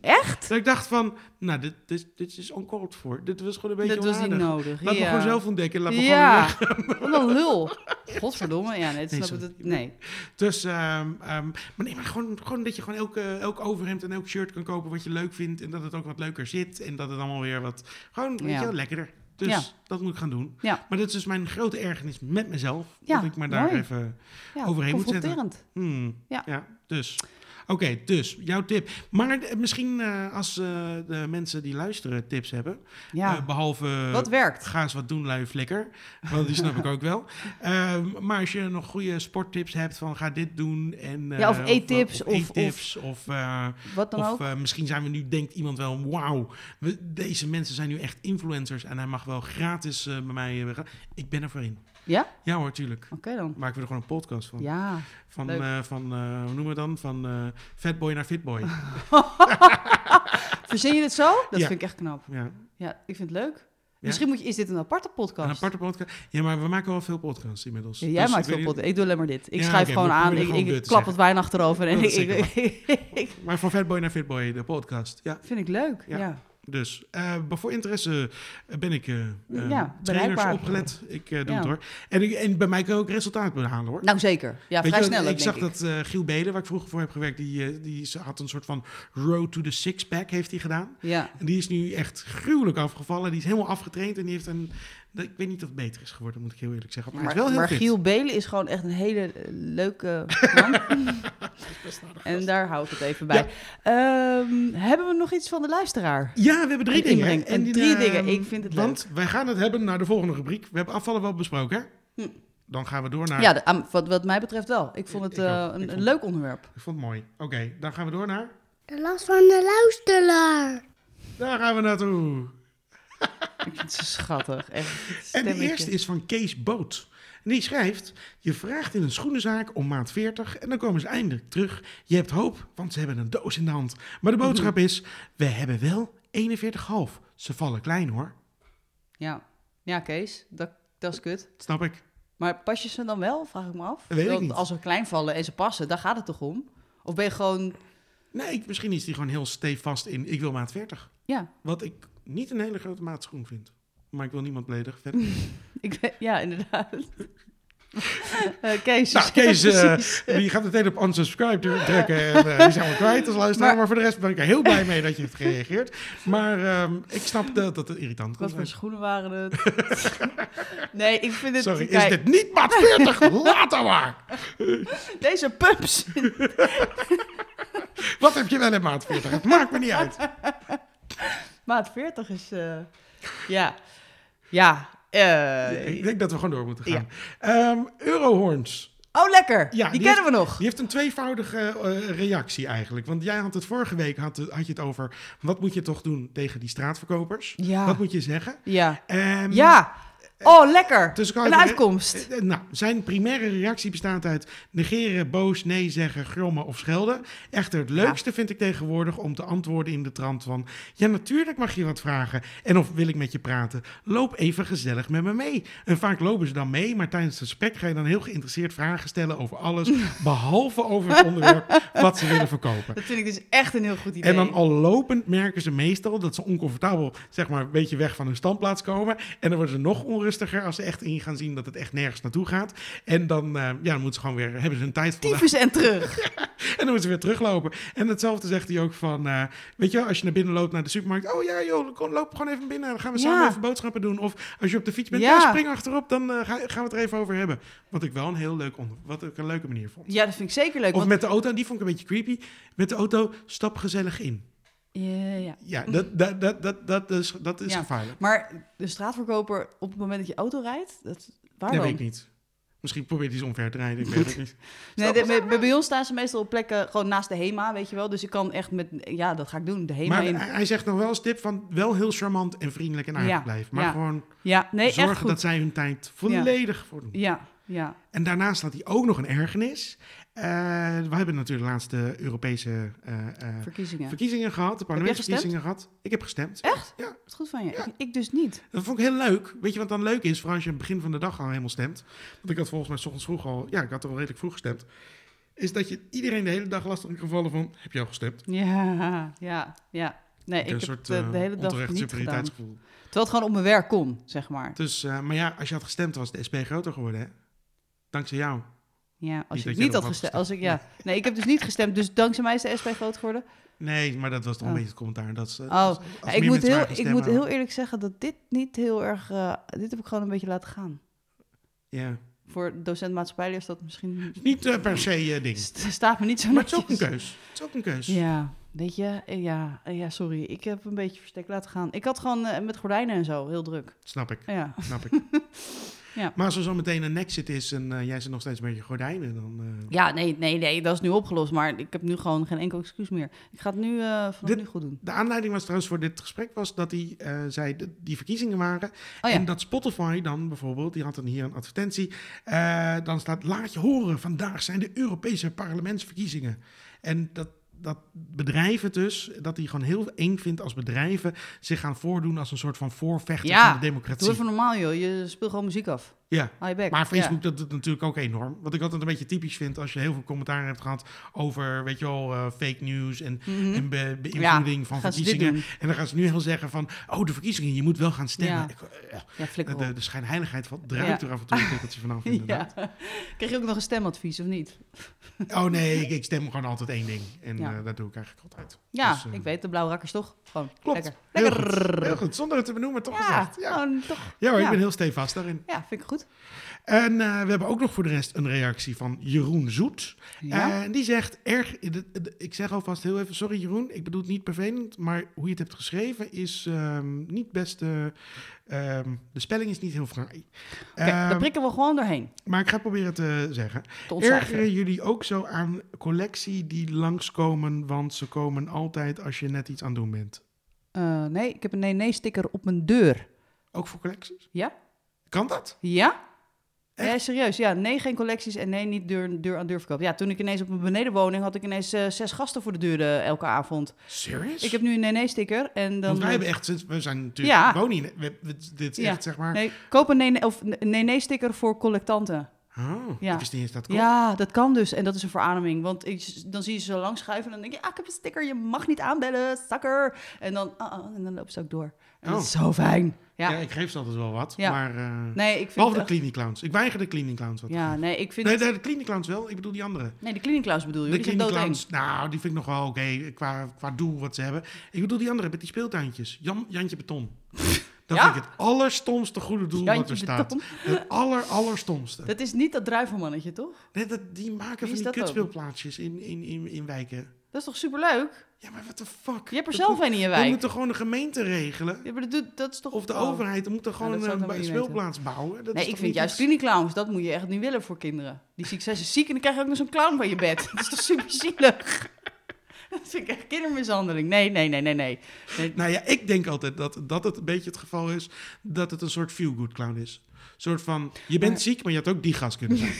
[SPEAKER 2] Echt?
[SPEAKER 1] Dat ik dacht van, nou, dit, dit, dit is uncalled for. Dit was gewoon een beetje
[SPEAKER 2] Dat was niet
[SPEAKER 1] onaardig.
[SPEAKER 2] nodig.
[SPEAKER 1] Laat me
[SPEAKER 2] ja.
[SPEAKER 1] gewoon zelf ontdekken. Laat me gewoon weer
[SPEAKER 2] ja, wat een lul. Godverdomme, ja, nee, dat
[SPEAKER 1] Nee,
[SPEAKER 2] snap ik
[SPEAKER 1] sorry.
[SPEAKER 2] dat- Nee,
[SPEAKER 1] Dus, ehm, ehm, maar nee, maar gewoon, gewoon dat je gewoon elke, elk overhemd en elk shirt kan kopen wat je leuk vindt. En dat het ook wat leuker zit. En dat het allemaal weer wat, gewoon, weet
[SPEAKER 2] Ja.
[SPEAKER 1] je wel, lekkerder. Dus
[SPEAKER 2] Ja.
[SPEAKER 1] dat moet ik gaan doen.
[SPEAKER 2] Ja.
[SPEAKER 1] Maar dat is dus mijn grote ergernis met mezelf.
[SPEAKER 2] Ja,
[SPEAKER 1] dat ik maar daar
[SPEAKER 2] mooi.
[SPEAKER 1] even,
[SPEAKER 2] ja,
[SPEAKER 1] Overheen moet zetten.
[SPEAKER 2] confronterend.
[SPEAKER 1] hmm,
[SPEAKER 2] Ja.
[SPEAKER 1] ja. dus. Oké, dus, jouw tip. Maar eh, misschien eh, als eh, de mensen die luisteren tips hebben.
[SPEAKER 2] Ja,
[SPEAKER 1] eh, behalve...
[SPEAKER 2] wat werkt?
[SPEAKER 1] Ga eens wat doen, lui flikker. Want die snap ik ook wel. Ehm, maar als je nog goede sporttips hebt van ga dit doen. En, eh,
[SPEAKER 2] Ja, of eettips,
[SPEAKER 1] Of,
[SPEAKER 2] of-
[SPEAKER 1] eettips, of, eh,
[SPEAKER 2] Wat dan
[SPEAKER 1] of
[SPEAKER 2] ook?
[SPEAKER 1] eh, misschien zijn we nu, denkt iemand wel, wauw. we- Deze mensen zijn nu echt influencers. En hij mag wel gratis eh, bij mij. eh, gaan." ik ben er voor in.
[SPEAKER 2] Ja?
[SPEAKER 1] Ja hoor, tuurlijk.
[SPEAKER 2] Oké dan.
[SPEAKER 1] Maken we er gewoon een podcast van.
[SPEAKER 2] Ja.
[SPEAKER 1] Van,
[SPEAKER 2] leuk.
[SPEAKER 1] eh, van eh, hoe noemen we dan? Van eh, fatboy naar fitboy.
[SPEAKER 2] Verzin je dit zo? Dat
[SPEAKER 1] Ja.
[SPEAKER 2] vind ik echt knap.
[SPEAKER 1] ja.
[SPEAKER 2] Ja, ik vind het leuk. Misschien moet je, is dit een aparte podcast?
[SPEAKER 1] Een aparte podcast. Ja, maar we maken wel veel podcasts inmiddels.
[SPEAKER 2] Ja, jij
[SPEAKER 1] Dus
[SPEAKER 2] maakt
[SPEAKER 1] ik weet
[SPEAKER 2] veel
[SPEAKER 1] niet-
[SPEAKER 2] podcast. Ik doe alleen maar dit. Ik
[SPEAKER 1] Ja,
[SPEAKER 2] schrijf
[SPEAKER 1] oké,
[SPEAKER 2] gewoon
[SPEAKER 1] maar
[SPEAKER 2] aan.
[SPEAKER 1] probeer
[SPEAKER 2] Ik,
[SPEAKER 1] gewoon
[SPEAKER 2] ik,
[SPEAKER 1] deur
[SPEAKER 2] ik
[SPEAKER 1] te
[SPEAKER 2] klap wat
[SPEAKER 1] zeggen.
[SPEAKER 2] wijn achterover. En
[SPEAKER 1] Dat
[SPEAKER 2] ik,
[SPEAKER 1] is zeker
[SPEAKER 2] ik, ik-
[SPEAKER 1] Maar van fatboy naar fitboy, de podcast. Ja.
[SPEAKER 2] vind ik leuk. Ja.
[SPEAKER 1] Ja. Dus eh, maar voor interesse eh, ben ik eh eh, trainers
[SPEAKER 2] bereikbaar.
[SPEAKER 1] opgelet. Ik eh, doe
[SPEAKER 2] Ja.
[SPEAKER 1] het hoor. En, ik- en bij mij kan je ook resultaat behalen hoor.
[SPEAKER 2] Nou, zeker. Ja,
[SPEAKER 1] Weet
[SPEAKER 2] vrij
[SPEAKER 1] je wel,
[SPEAKER 2] snel ook,
[SPEAKER 1] Ik zag
[SPEAKER 2] denk ik.
[SPEAKER 1] dat eh, Giel Belen, waar ik vroeger voor heb gewerkt, die, eh, die is- had een soort van road to the six pack heeft hij gedaan.
[SPEAKER 2] Ja.
[SPEAKER 1] En die is nu echt gruwelijk afgevallen. Die is helemaal afgetraind en die heeft een... Ik weet niet of het beter is geworden, moet ik heel eerlijk zeggen. Maar,
[SPEAKER 2] Maar,
[SPEAKER 1] hij is wel heel
[SPEAKER 2] maar
[SPEAKER 1] fit.
[SPEAKER 2] Giel Belen is gewoon echt een hele eh, leuke man. en daar hou ik het even bij. Ehm, hebben we nog iets van de luisteraar?
[SPEAKER 1] Ja, we hebben drie
[SPEAKER 2] Een
[SPEAKER 1] dingen.
[SPEAKER 2] inbreng. En
[SPEAKER 1] die,
[SPEAKER 2] drie
[SPEAKER 1] eh,
[SPEAKER 2] dingen. Ik vind het
[SPEAKER 1] Want wij gaan het hebben naar de volgende rubriek. We hebben afvallen wel besproken, hè?
[SPEAKER 2] Hm.
[SPEAKER 1] Dan gaan we door naar...
[SPEAKER 2] Ja, de- am- wat, wat mij betreft wel. Ik vond het
[SPEAKER 1] Ik ook.
[SPEAKER 2] eh,
[SPEAKER 1] Ik
[SPEAKER 2] een,
[SPEAKER 1] vond
[SPEAKER 2] een leuk onderwerp.
[SPEAKER 1] Ik vond het mooi. Oké, dan gaan we door naar...
[SPEAKER 4] De last van de luisteraar.
[SPEAKER 1] Daar gaan we naartoe.
[SPEAKER 2] Ik vind het zo schattig. Echt, het
[SPEAKER 1] En de
[SPEAKER 2] stemmetje.
[SPEAKER 1] eerste is van Kees Boot. En die schrijft: Je vraagt in een schoenenzaak om maat 40 en dan komen ze eindelijk terug. Je hebt hoop, want ze hebben een doos in de hand. Maar de boodschap is: We hebben wel 41,5. Ze vallen klein hoor.
[SPEAKER 2] Ja. ja, Kees, dat, dat is kut.
[SPEAKER 1] Snap ik.
[SPEAKER 2] Maar pas je ze dan wel, vraag ik me af.
[SPEAKER 1] Dat weet ik
[SPEAKER 2] Want
[SPEAKER 1] niet.
[SPEAKER 2] Als ze klein vallen en ze passen, daar gaat het toch om? Of ben je gewoon...
[SPEAKER 1] Nee, ik- misschien is die gewoon heel stevast in: Ik wil maat 40.
[SPEAKER 2] Ja,
[SPEAKER 1] Wat ik niet een hele grote maat schoen vind. Maar ik wil niemand beledigen. Verder.
[SPEAKER 2] ik, weet- ja inderdaad. Eh, Kees.
[SPEAKER 1] Nou, Kees, eh,
[SPEAKER 2] precies.
[SPEAKER 1] die gaat meteen op unsubscribe dru- drukken. En, eh, die zijn we kwijt als luisteraar.
[SPEAKER 2] Maar-
[SPEAKER 1] Maar, voor de rest ben ik er heel blij mee dat je hebt gereageerd. Maar ehm, ik snap dat, dat het irritant kan
[SPEAKER 2] Wat voor
[SPEAKER 1] zijn.
[SPEAKER 2] schoenen waren het? nee, ik vind het...
[SPEAKER 1] Sorry, is
[SPEAKER 2] kijk,
[SPEAKER 1] dit niet maat 40? Later maar!
[SPEAKER 2] Deze pumps.
[SPEAKER 1] Wat heb je wel in maat 40? Het maakt me niet uit.
[SPEAKER 2] Maat 40 is... eh, ja. Ja. eh,
[SPEAKER 1] Ik denk dat we gewoon door moeten gaan. Ehm, Eurohorns,
[SPEAKER 2] Oh, lekker.
[SPEAKER 1] Ja,
[SPEAKER 2] die,
[SPEAKER 1] die
[SPEAKER 2] kennen we nog.
[SPEAKER 1] die heeft een tweevoudige eh, reactie eigenlijk. Want jij had het vorige week had, had je het over... wat moet je toch doen tegen die straatverkopers?
[SPEAKER 2] Ja.
[SPEAKER 1] Wat moet je zeggen?
[SPEAKER 2] Ja.
[SPEAKER 1] Ehm,
[SPEAKER 2] Ja. Oh, lekker.
[SPEAKER 1] Dus ik kan
[SPEAKER 2] een
[SPEAKER 1] even-
[SPEAKER 2] uitkomst.
[SPEAKER 1] Eh, eh, Nou, zijn primaire reactie bestaat uit negeren, boos, nee zeggen, grommen of schelden. Echter, het leukste vind ik tegenwoordig om te antwoorden in de trant van... Ja, natuurlijk mag je wat vragen. En of wil ik met je praten? Loop even gezellig met me mee. En vaak lopen ze dan mee, maar tijdens het gesprek ga je dan heel geïnteresseerd vragen stellen over alles... behalve over het onderwerp wat ze willen verkopen.
[SPEAKER 2] Dat vind ik dus echt een heel goed idee.
[SPEAKER 1] En dan al lopend merken ze meestal dat ze oncomfortabel, zeg maar, een beetje weg van hun standplaats komen. En dan worden ze nog onrustiger als ze echt in gaan zien dat het echt nergens naartoe gaat. En dan, eh, ja, dan moeten ze gewoon weer, hebben ze hun tijd voldaan.
[SPEAKER 2] Tyfus en terug.
[SPEAKER 1] En dan moeten ze weer teruglopen. En hetzelfde zegt hij ook van, eh, weet je wel, als je naar binnen loopt naar de supermarkt. Oh ja, joh, kom, loop gewoon even binnen. Dan gaan we
[SPEAKER 2] Ja.
[SPEAKER 1] samen even boodschappen doen. Of als je op de fiets bent,
[SPEAKER 2] Ja.
[SPEAKER 1] ja, spring achterop. Dan eh, ga- gaan we het er even over hebben. Wat ik wel een heel leuk onder, wat ik een leuke manier vond.
[SPEAKER 2] Ja, dat vind ik zeker leuk.
[SPEAKER 1] Of
[SPEAKER 2] Want,
[SPEAKER 1] met de auto, en die vond ik een beetje creepy. Met de auto, stap gezellig in.
[SPEAKER 2] ja, ja.
[SPEAKER 1] Ja, dat, dat, dat, dat, dat is, dat is
[SPEAKER 2] Mm. Ja.
[SPEAKER 1] gevaarlijk.
[SPEAKER 2] Maar de straatverkoper op het moment dat je auto rijdt, dat,
[SPEAKER 1] Dat
[SPEAKER 2] waar dan?
[SPEAKER 1] weet ik niet. Misschien probeert hij ze omver te rijden. Ik weet het niet.
[SPEAKER 2] Nee, de- bij, bij- bij ons staan ze meestal op plekken gewoon naast de HEMA, weet je wel. Dus ik kan echt met, ja, dat ga ik doen, de HEMA
[SPEAKER 1] Maar
[SPEAKER 2] in.
[SPEAKER 1] hij hij zegt nog wel als tip van wel heel charmant en vriendelijk en aardig
[SPEAKER 2] Ja,
[SPEAKER 1] blijven. Maar
[SPEAKER 2] ja.
[SPEAKER 1] gewoon
[SPEAKER 2] Ja, nee, echt
[SPEAKER 1] zorgen
[SPEAKER 2] goed.
[SPEAKER 1] dat zij hun tijd volledig voor doen.
[SPEAKER 2] Ja, ja.
[SPEAKER 1] En daarnaast had hij ook nog een ergernis. Eh, we hebben natuurlijk de laatste Europese eh, eh,
[SPEAKER 2] Verkiezingen.
[SPEAKER 1] verkiezingen gehad. De parlementsverkiezingen gehad. Ik heb gestemd.
[SPEAKER 2] Echt?
[SPEAKER 1] Ja.
[SPEAKER 2] Wat goed van je. Ik, ik dus niet.
[SPEAKER 1] Dat vond ik heel leuk. Weet je wat dan leuk is? Vooral als je aan het begin van de dag al helemaal stemt. Want ik had volgens mij 's ochtends vroeg al... Ja, ik had al redelijk vroeg gestemd. Is dat je iedereen de hele dag lastig kan vallen van... Heb je al gestemd?
[SPEAKER 2] Ja, ja, ja. Nee, ik
[SPEAKER 1] een
[SPEAKER 2] heb
[SPEAKER 1] soort
[SPEAKER 2] de,
[SPEAKER 1] eh,
[SPEAKER 2] de hele dag
[SPEAKER 1] onterecht
[SPEAKER 2] niet gedaan.
[SPEAKER 1] superioriteitsgevoel.
[SPEAKER 2] Terwijl het gewoon op mijn werk kon, zeg maar.
[SPEAKER 1] Dus, eh, maar ja, als je had gestemd was de SP groter geworden, hè? Dankzij jou.
[SPEAKER 2] Ja,
[SPEAKER 1] Niet
[SPEAKER 2] als
[SPEAKER 1] dat
[SPEAKER 2] ik
[SPEAKER 1] jij
[SPEAKER 2] niet
[SPEAKER 1] erop
[SPEAKER 2] had
[SPEAKER 1] had gestemd.
[SPEAKER 2] gestemd. Als ik, ja. Nee, ik heb dus niet gestemd, dus dankzij mij is de SP groot geworden.
[SPEAKER 1] Nee, maar dat was toch
[SPEAKER 2] Oh.
[SPEAKER 1] een beetje het commentaar. Dat is, eh,
[SPEAKER 2] Oh,
[SPEAKER 1] als- als
[SPEAKER 2] Ja,
[SPEAKER 1] meer
[SPEAKER 2] ik, moet
[SPEAKER 1] mensen
[SPEAKER 2] heel,
[SPEAKER 1] waren gaan
[SPEAKER 2] ik moet heel
[SPEAKER 1] stemmen-
[SPEAKER 2] eerlijk zeggen dat dit niet heel erg... eh, dit heb ik gewoon een beetje laten gaan.
[SPEAKER 1] Ja.
[SPEAKER 2] Voor docent maatschappijleer is dat misschien...
[SPEAKER 1] Niet eh, per se eh, ding.
[SPEAKER 2] st- staat me niet zo
[SPEAKER 1] Maar het is ook een
[SPEAKER 2] netjes.
[SPEAKER 1] keus. Het is ook een keus.
[SPEAKER 2] Ja, weet je, eh, ja, eh, ja, sorry. Ik heb een beetje verstek laten gaan. Ik had gewoon eh, met gordijnen en zo, heel druk.
[SPEAKER 1] Snap ik,
[SPEAKER 2] Ja,
[SPEAKER 1] snap ik.
[SPEAKER 2] Ja.
[SPEAKER 1] Maar als er zo meteen een exit is en eh, jij zit nog steeds een beetje gordijnen, dan... eh,
[SPEAKER 2] ja nee, nee, nee, dat is nu opgelost. Maar ik heb nu gewoon geen enkel excuus meer. Ik ga het nu eh, vanaf
[SPEAKER 1] Dit-
[SPEAKER 2] nu goed doen.
[SPEAKER 1] De aanleiding was trouwens voor dit gesprek was dat hij eh, zei dat die verkiezingen waren.
[SPEAKER 2] Oh ja.
[SPEAKER 1] En dat Spotify dan bijvoorbeeld, die had dan hier een advertentie. eh, dan staat laat je horen, vandaag zijn de Europese parlementsverkiezingen. En dat, dat bedrijven dus, dat hij gewoon heel eng vindt als bedrijven zich gaan voordoen als een soort van voorvechter
[SPEAKER 2] Ja,
[SPEAKER 1] van de
[SPEAKER 2] Doe
[SPEAKER 1] democratie.
[SPEAKER 2] even normaal, joh. Je speelt gewoon muziek af.
[SPEAKER 1] Ja.
[SPEAKER 2] Hou je bek.
[SPEAKER 1] Maar
[SPEAKER 2] Ja.
[SPEAKER 1] Facebook dat doet natuurlijk ook enorm. Wat ik altijd een beetje typisch vind als je heel veel commentaar hebt gehad over, weet je wel, eh, fake news en,
[SPEAKER 2] Mhm.
[SPEAKER 1] en be- beïnvloeding
[SPEAKER 2] Ja,
[SPEAKER 1] van
[SPEAKER 2] gaan ze dit
[SPEAKER 1] verkiezingen.
[SPEAKER 2] doen?
[SPEAKER 1] En dan gaan ze nu heel zeggen van, oh, de verkiezingen, je moet wel gaan stemmen.
[SPEAKER 2] Ja.
[SPEAKER 1] Ik, eh,
[SPEAKER 2] Ja, flikker op.
[SPEAKER 1] de, de schijnheiligheid van, druipt
[SPEAKER 2] Ja.
[SPEAKER 1] er af en toe een tikkeltje vanaf,
[SPEAKER 2] Ja.
[SPEAKER 1] inderdaad.
[SPEAKER 2] Kreeg je ook nog een stemadvies, of niet?
[SPEAKER 1] Oh nee, ik, ik stem gewoon altijd één ding. En
[SPEAKER 2] Ja.
[SPEAKER 1] eh, dat doe ik eigenlijk altijd.
[SPEAKER 2] Ja,
[SPEAKER 1] Dus, eh,
[SPEAKER 2] ik weet, de blauwe rakkers toch? Gewoon
[SPEAKER 1] Klopt.
[SPEAKER 2] lekker.
[SPEAKER 1] Heel
[SPEAKER 2] Lekker.
[SPEAKER 1] goed. Heel goed. Zonder het te benoemen, toch
[SPEAKER 2] Ja,
[SPEAKER 1] gezegd. Ja,
[SPEAKER 2] gewoon toch.
[SPEAKER 1] ja hoor,
[SPEAKER 2] ja.
[SPEAKER 1] ik ben heel stevast daarin.
[SPEAKER 2] Ja, vind ik goed.
[SPEAKER 1] En eh, we hebben ook nog voor de rest een reactie van Jeroen Zoet.
[SPEAKER 2] Ja.
[SPEAKER 1] En die zegt erg. eh, de- de- Ik zeg alvast heel even: sorry Jeroen, ik bedoel het niet vervelend. Maar hoe je het hebt geschreven is ehm, niet best. eh, ehm, de spelling is niet heel fraai.
[SPEAKER 2] Oké, daar
[SPEAKER 1] Ehm,
[SPEAKER 2] prikken we gewoon doorheen.
[SPEAKER 1] maar ik ga proberen te zeggen.
[SPEAKER 2] Te ontcijferen.
[SPEAKER 1] Ergeren jullie ook zo aan collectie die langskomen? Want ze komen altijd als je net iets aan het doen bent.
[SPEAKER 2] Eh, nee, ik heb een nee-nee-sticker op mijn deur.
[SPEAKER 1] Ook voor collecties?
[SPEAKER 2] Ja?
[SPEAKER 1] Kan dat?
[SPEAKER 2] Ja?
[SPEAKER 1] Echt?
[SPEAKER 2] Nee, serieus. Ja, nee, geen collecties en nee, niet deur, deur aan deur verkoop. Ja, toen ik ineens op mijn benedenwoning had ik ineens eh, zes gasten voor de deur eh, elke avond.
[SPEAKER 1] Serious?
[SPEAKER 2] Ik heb nu een nee-nee-sticker en dan...
[SPEAKER 1] Want wij hebben echt, sinds- we zijn natuurlijk,
[SPEAKER 2] Ja.
[SPEAKER 1] we wonen hier- we- we- dit is
[SPEAKER 2] Ja.
[SPEAKER 1] echt zeg maar...
[SPEAKER 2] Nee, koop een nee-nee- of een nee-nee-sticker voor collectanten.
[SPEAKER 1] Oh,
[SPEAKER 2] Ja.
[SPEAKER 1] ik wist niet eens dat kon.
[SPEAKER 2] Ja, dat kan dus. En dat is een verademing. Want ik, dan zie je ze langs schuiven en dan denk je... Ah, ik heb een sticker, je mag niet aanbellen, zakker. En dan, ah, ah, en dan loopt ze ook door. En dat
[SPEAKER 1] Oh.
[SPEAKER 2] is zo fijn. Ja.
[SPEAKER 1] Ja. ik geef ze altijd wel wat,
[SPEAKER 2] Ja.
[SPEAKER 1] maar... eh
[SPEAKER 2] Nee, ik vind...
[SPEAKER 1] behalve de
[SPEAKER 2] echt-
[SPEAKER 1] cleaning clowns. Ik weiger de cleaning clowns wat. te
[SPEAKER 2] ja,
[SPEAKER 1] geven.
[SPEAKER 2] nee, ik vind...
[SPEAKER 1] nee, nee, de cleaning clowns wel. Ik bedoel die andere.
[SPEAKER 2] Nee, de cleaning clowns bedoel je.
[SPEAKER 1] De
[SPEAKER 2] die zijn
[SPEAKER 1] cleaning
[SPEAKER 2] doodeng.
[SPEAKER 1] clowns, nou, die vind ik nog wel oké qua, qua doel wat ze hebben. Ik bedoel die andere met die speeltuintjes. Jan, Jantje Beton. Dat
[SPEAKER 2] Ja?
[SPEAKER 1] vind ik het allerstomste goede doel wat
[SPEAKER 2] Jantje
[SPEAKER 1] er staat.
[SPEAKER 2] Beton.
[SPEAKER 1] Het aller, allerstomste.
[SPEAKER 2] Dat is niet dat druivelmannetje, toch?
[SPEAKER 1] Nee, dat, die maken
[SPEAKER 2] Wie
[SPEAKER 1] van
[SPEAKER 2] is
[SPEAKER 1] die
[SPEAKER 2] dat dan?
[SPEAKER 1] kutspeelplaatsjes in, in, in, in wijken.
[SPEAKER 2] Dat is toch superleuk?
[SPEAKER 1] Ja, maar what the fuck?
[SPEAKER 2] Je hebt er
[SPEAKER 1] Dat
[SPEAKER 2] zelf
[SPEAKER 1] moet-
[SPEAKER 2] een in je
[SPEAKER 1] Dat
[SPEAKER 2] wijk.
[SPEAKER 1] moet toch gewoon de gemeente regelen?
[SPEAKER 2] Ja, maar dat, dat is toch...
[SPEAKER 1] Of de
[SPEAKER 2] oh.
[SPEAKER 1] overheid moet er gewoon
[SPEAKER 2] dat zou ik
[SPEAKER 1] een
[SPEAKER 2] dan
[SPEAKER 1] ba-
[SPEAKER 2] weer niet
[SPEAKER 1] speelplaats bouwen. Dat is
[SPEAKER 2] Nee,
[SPEAKER 1] toch
[SPEAKER 2] ik
[SPEAKER 1] niet
[SPEAKER 2] vind juist
[SPEAKER 1] iets-
[SPEAKER 2] cleaning clowns, dat moet je echt niet willen voor kinderen. Die succes is ziek en dan krijg je ook nog zo'n clown van je bed. Dat is toch super zielig? Dat vind ik echt kindermishandeling. Nee, nee, nee, nee, nee. nee
[SPEAKER 1] Nou ja, ik denk altijd dat, dat het een beetje het geval is dat het een soort feel-good clown is. soort van, je bent
[SPEAKER 2] Maar-
[SPEAKER 1] ziek, maar je had ook die gast kunnen zijn.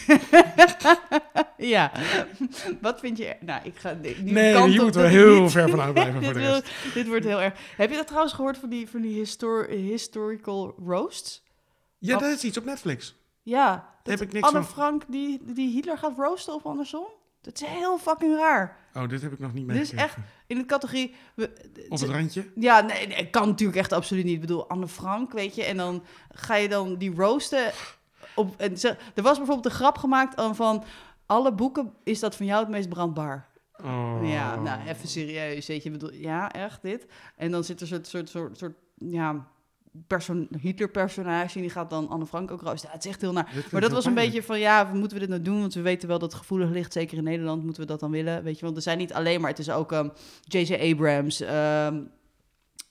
[SPEAKER 2] Ja. Wat vind je... er- Nou, ik ga... Nu
[SPEAKER 1] Nee,
[SPEAKER 2] kant
[SPEAKER 1] je
[SPEAKER 2] op
[SPEAKER 1] moet
[SPEAKER 2] dat
[SPEAKER 1] er
[SPEAKER 2] ik
[SPEAKER 1] heel
[SPEAKER 2] niet-
[SPEAKER 1] ver vanuit blijven
[SPEAKER 2] dit,
[SPEAKER 1] voor de
[SPEAKER 2] wil-
[SPEAKER 1] rest.
[SPEAKER 2] dit wordt heel erg. Heb je dat trouwens gehoord van die, van die histor- historical roasts?
[SPEAKER 1] Ja, dat is iets op Netflix.
[SPEAKER 2] Ja.
[SPEAKER 1] Daar
[SPEAKER 2] dat
[SPEAKER 1] heb ik niks
[SPEAKER 2] Anne
[SPEAKER 1] van.
[SPEAKER 2] Frank die, die Hitler gaat roosten of andersom? Dat is heel fucking raar.
[SPEAKER 1] Oh, dit heb ik nog niet
[SPEAKER 2] Dit is
[SPEAKER 1] meegekregen.
[SPEAKER 2] Dus echt in de categorie... we-
[SPEAKER 1] Op het randje?
[SPEAKER 2] Ja, nee, nee, kan natuurlijk echt absoluut niet. Ik bedoel, Anne Frank, weet je. En dan ga je dan die roosten... Op, en ze- er was bijvoorbeeld een grap gemaakt aan van... Alle boeken is dat van jou het meest brandbaar.
[SPEAKER 1] Oh.
[SPEAKER 2] Ja, nou, even serieus, weet je. Ik bedoel, ja, echt dit. En dan zit er zo'n soort, soort, soort ja, perso- Hitler-personage... en die gaat dan Anne Frank ook roosten. Ja, het is echt heel naar.
[SPEAKER 1] Dit klinkt
[SPEAKER 2] Maar dat
[SPEAKER 1] heel
[SPEAKER 2] was een
[SPEAKER 1] pijnlijk.
[SPEAKER 2] beetje van, ja, moeten we dit nou doen? Want we weten wel dat het gevoelig ligt, zeker in Nederland, moeten we dat dan willen? Weet je, want er zijn niet alleen maar, het is ook ehm, J.J. Abrams, ehm,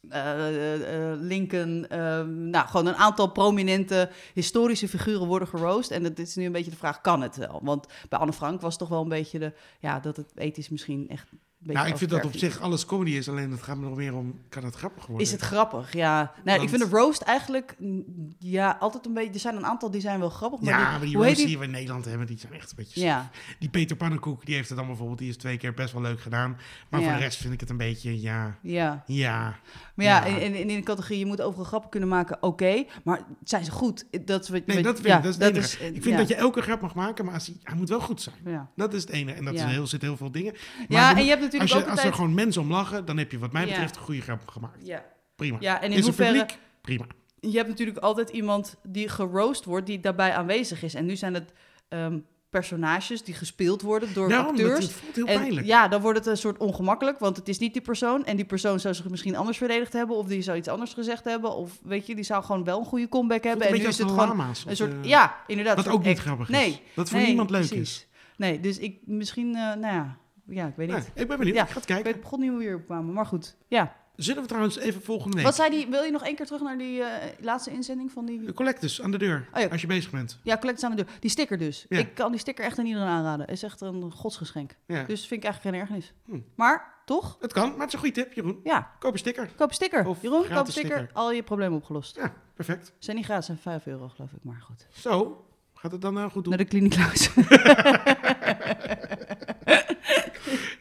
[SPEAKER 2] eh, eh, Lincoln, ehm, nou, gewoon een aantal prominente historische figuren worden geroost. En het is nu een beetje de vraag, kan het wel? Want bij Anne Frank was toch wel een beetje de, ja, dat het ethisch misschien echt een beetje
[SPEAKER 1] Nou, ik vind dat op
[SPEAKER 2] oververf is.
[SPEAKER 1] zich alles comedy is, alleen het gaat me nog meer om, kan het grappig worden?
[SPEAKER 2] Is het grappig, ja. Nou,
[SPEAKER 1] Want-
[SPEAKER 2] ik vind de roast eigenlijk, mm, ja, altijd een beetje... Er zijn een aantal die zijn wel grappig, maar,
[SPEAKER 1] ja, maar die
[SPEAKER 2] hoe heet
[SPEAKER 1] roasts die we in Nederland hebben, die zijn echt een beetje...
[SPEAKER 2] Ja,
[SPEAKER 1] Die Peter Pannenkoek, die heeft het dan bijvoorbeeld, die is twee keer best wel leuk gedaan. Maar voor
[SPEAKER 2] Ja.
[SPEAKER 1] de rest vind ik het een beetje, ja,
[SPEAKER 2] ja.
[SPEAKER 1] ja.
[SPEAKER 2] Maar ja,
[SPEAKER 1] Ja.
[SPEAKER 2] En, en- en in de categorie je moet overal grappen kunnen maken, oké. maar zijn ze goed? Dat is wat,
[SPEAKER 1] Nee,
[SPEAKER 2] wat-
[SPEAKER 1] dat vind
[SPEAKER 2] ja,
[SPEAKER 1] ik, dat is het enige. Ik vind dat je elke grap mag maken, maar als hij, hij moet wel goed zijn.
[SPEAKER 2] Ja, ja.
[SPEAKER 1] Dat is het ene. En dat
[SPEAKER 2] Ja.
[SPEAKER 1] is heel, zit heel veel dingen. Maar je
[SPEAKER 2] ja en
[SPEAKER 1] moet-
[SPEAKER 2] je hebt
[SPEAKER 1] als,
[SPEAKER 2] natuurlijk
[SPEAKER 1] je,
[SPEAKER 2] ook
[SPEAKER 1] als er
[SPEAKER 2] altijd...
[SPEAKER 1] gewoon mensen om lachen, dan heb je wat mij
[SPEAKER 2] Ja.
[SPEAKER 1] betreft een goede grap gemaakt.
[SPEAKER 2] Ja.
[SPEAKER 1] Prima.
[SPEAKER 2] ja, en in
[SPEAKER 1] is er
[SPEAKER 2] hoeverre...
[SPEAKER 1] publiek? Prima.
[SPEAKER 2] Je hebt natuurlijk altijd iemand die geroost wordt, die daarbij aanwezig is. En nu zijn het ehm, personages die gespeeld worden door
[SPEAKER 1] Daarom, dat,
[SPEAKER 2] acteurs.
[SPEAKER 1] het voelt heel
[SPEAKER 2] En
[SPEAKER 1] pijnlijk.
[SPEAKER 2] ja, dan wordt het een soort ongemakkelijk, want het is niet die persoon. En die persoon zou zich misschien anders verdedigd hebben, of die zou iets anders gezegd hebben. Of weet je, die zou gewoon wel een goede comeback
[SPEAKER 1] Het voelt
[SPEAKER 2] hebben.
[SPEAKER 1] een
[SPEAKER 2] en nu
[SPEAKER 1] beetje
[SPEAKER 2] is
[SPEAKER 1] als
[SPEAKER 2] het
[SPEAKER 1] de
[SPEAKER 2] gewoon
[SPEAKER 1] lama's.
[SPEAKER 2] Een soort,
[SPEAKER 1] eh,
[SPEAKER 2] ja, inderdaad.
[SPEAKER 1] Wat
[SPEAKER 2] een soort
[SPEAKER 1] ook niet
[SPEAKER 2] act.
[SPEAKER 1] grappig
[SPEAKER 2] nee,
[SPEAKER 1] is. Dat voor
[SPEAKER 2] nee,
[SPEAKER 1] niemand leuk
[SPEAKER 2] precies.
[SPEAKER 1] is.
[SPEAKER 2] Nee, dus ik misschien, eh, nou ja, ja, ik weet niet.
[SPEAKER 1] Nou, ik ben benieuwd.
[SPEAKER 2] Ja.
[SPEAKER 1] Ik ga het
[SPEAKER 2] Ik
[SPEAKER 1] kijken.
[SPEAKER 2] weet begon niet hoe we hierop kwamen, maar goed. Ja.
[SPEAKER 1] Zullen we trouwens even volgende week...
[SPEAKER 2] Wat zei die, wil je nog één keer terug naar die eh, laatste inzending van die...
[SPEAKER 1] De collectus aan de deur,
[SPEAKER 2] Oh ja.
[SPEAKER 1] als je bezig bent.
[SPEAKER 2] Ja, collecties aan de deur. Die sticker dus.
[SPEAKER 1] Ja.
[SPEAKER 2] Ik kan die sticker echt aan iedereen aanraden. Is echt een godsgeschenk.
[SPEAKER 1] Ja.
[SPEAKER 2] Dus vind ik eigenlijk geen ergernis.
[SPEAKER 1] Hm.
[SPEAKER 2] Maar, toch?
[SPEAKER 1] Het kan, maar het is een goede tip, Jeroen.
[SPEAKER 2] Ja,
[SPEAKER 1] Koop een sticker.
[SPEAKER 2] koop een sticker.
[SPEAKER 1] Of
[SPEAKER 2] Jeroen, koop
[SPEAKER 1] gratis
[SPEAKER 2] een sticker.
[SPEAKER 1] sticker.
[SPEAKER 2] Al je problemen opgelost.
[SPEAKER 1] Ja, perfect.
[SPEAKER 2] Zijn niet gratis, zijn 5 euro geloof ik, maar goed.
[SPEAKER 1] Zo, gaat het dan eh, goed doen.
[SPEAKER 2] Naar de kliniek Klaus.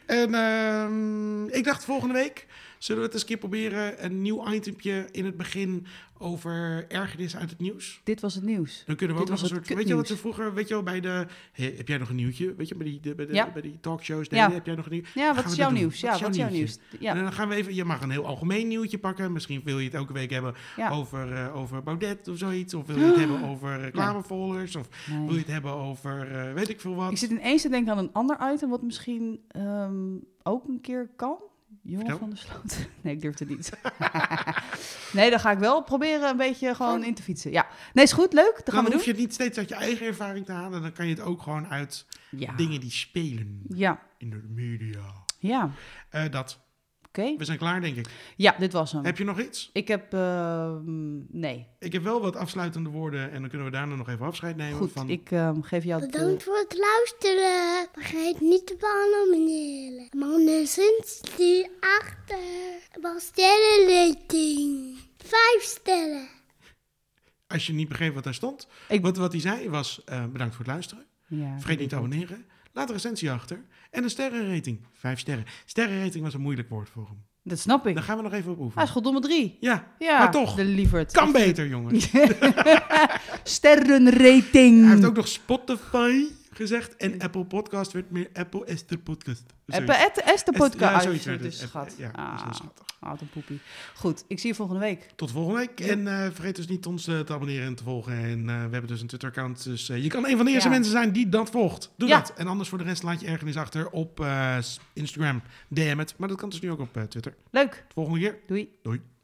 [SPEAKER 1] En ehm, ik dacht volgende week zullen we het eens een keer proberen. Een nieuw itempje in het begin over ergernis uit het nieuws.
[SPEAKER 2] Dit was het nieuws.
[SPEAKER 1] Dan kunnen we
[SPEAKER 2] Dit
[SPEAKER 1] ook nog
[SPEAKER 2] was
[SPEAKER 1] een
[SPEAKER 2] het
[SPEAKER 1] soort... Weet je wat ze
[SPEAKER 2] kutnieuws.
[SPEAKER 1] vroeger, weet je wel, bij de... Hey, heb jij nog een nieuwtje? Weet je, bij die, de- bij de,
[SPEAKER 2] Ja.
[SPEAKER 1] bij die talkshows
[SPEAKER 2] Ja.
[SPEAKER 1] deden, heb jij nog een nieuwtje?
[SPEAKER 2] Ja, wat
[SPEAKER 1] Gaan
[SPEAKER 2] is
[SPEAKER 1] we
[SPEAKER 2] jouw
[SPEAKER 1] dat doen?
[SPEAKER 2] nieuws? Ja, wat is jouw nieuws? Ja.
[SPEAKER 1] En dan gaan we even... Je mag een heel algemeen nieuwtje pakken. Misschien wil je het elke week hebben
[SPEAKER 2] Ja.
[SPEAKER 1] over, eh, over Baudet of zoiets. Of wil je het hebben over reclamefolders. Of
[SPEAKER 2] Nee.
[SPEAKER 1] wil je het hebben over eh, weet ik veel wat.
[SPEAKER 2] Ik zit ineens te denken aan een ander item wat misschien ehm, ook een keer kan. Jongen
[SPEAKER 1] Vertel.
[SPEAKER 2] van der Sloot. Nee, ik durf het niet. nee, dan ga ik wel proberen een beetje gewoon in te fietsen. Ja, nee, is goed, leuk. Dat
[SPEAKER 1] Oh. dan
[SPEAKER 2] gaan we
[SPEAKER 1] hoef
[SPEAKER 2] doen.
[SPEAKER 1] je het niet steeds uit je eigen ervaring te halen. Dan kan je het ook gewoon uit
[SPEAKER 2] Ja.
[SPEAKER 1] dingen die spelen
[SPEAKER 2] ja,
[SPEAKER 1] in de media.
[SPEAKER 2] ja, oké.
[SPEAKER 1] Eh, dat. We zijn klaar, denk ik.
[SPEAKER 2] Ja, dit was hem.
[SPEAKER 1] Heb je nog iets?
[SPEAKER 2] Ik heb, ehm, nee,
[SPEAKER 1] Ik heb wel wat afsluitende woorden en dan kunnen we daarna nog even afscheid nemen.
[SPEAKER 2] goed.
[SPEAKER 1] van...
[SPEAKER 2] Ik ehm, geef jou het...
[SPEAKER 4] Bedankt voor het luisteren. Vergeet niet te abonneren. Mannen sinds die achter. Wel sterrenrating. Vijf sterren.
[SPEAKER 1] Als je niet begreep wat daar stond.
[SPEAKER 2] Ik-
[SPEAKER 1] Wat, wat hij zei was, eh, bedankt voor het luisteren.
[SPEAKER 2] eh, ja,
[SPEAKER 1] Vergeet niet te abonneren. Laat een recensie achter. En een sterrenrating. Vijf sterren. Sterrenrating was een moeilijk woord voor hem.
[SPEAKER 2] Dat snap ik.
[SPEAKER 1] Daar gaan we nog even op
[SPEAKER 2] Hij
[SPEAKER 1] oefenen.
[SPEAKER 2] is goddomme drie.
[SPEAKER 1] Ja,
[SPEAKER 2] Ja,
[SPEAKER 1] maar toch.
[SPEAKER 2] De lieverd.
[SPEAKER 1] Kan beter, jongens.
[SPEAKER 2] Sterrenrating.
[SPEAKER 1] Hij heeft ook nog Spotify gezegd. En Apple Podcast werd meer Apple Esther Podcast.
[SPEAKER 2] Eppe-
[SPEAKER 1] Zoiets.
[SPEAKER 2] Ed- Esther
[SPEAKER 1] Ja,
[SPEAKER 2] podcast.
[SPEAKER 1] zoiets
[SPEAKER 2] Ah,
[SPEAKER 1] werd
[SPEAKER 2] dus
[SPEAKER 1] het.
[SPEAKER 2] schat.
[SPEAKER 1] Ja, dat is heel
[SPEAKER 2] Ah.
[SPEAKER 1] schattig.
[SPEAKER 2] Ah, wat een poepie. Goed, ik zie je volgende week.
[SPEAKER 1] Tot volgende week. En eh, vergeet dus niet ons eh, te abonneren en te volgen. En eh, we hebben dus een Twitter-account. Dus eh, je kan een van de eerste
[SPEAKER 2] Ja.
[SPEAKER 1] mensen zijn die dat volgt. Doe
[SPEAKER 2] Ja.
[SPEAKER 1] dat. En anders voor de rest laat je ergernis achter op eh, Instagram. DM het. Maar dat kan dus nu ook op eh, Twitter.
[SPEAKER 2] Leuk.
[SPEAKER 1] Tot volgende keer.
[SPEAKER 2] Doei.
[SPEAKER 1] Doei.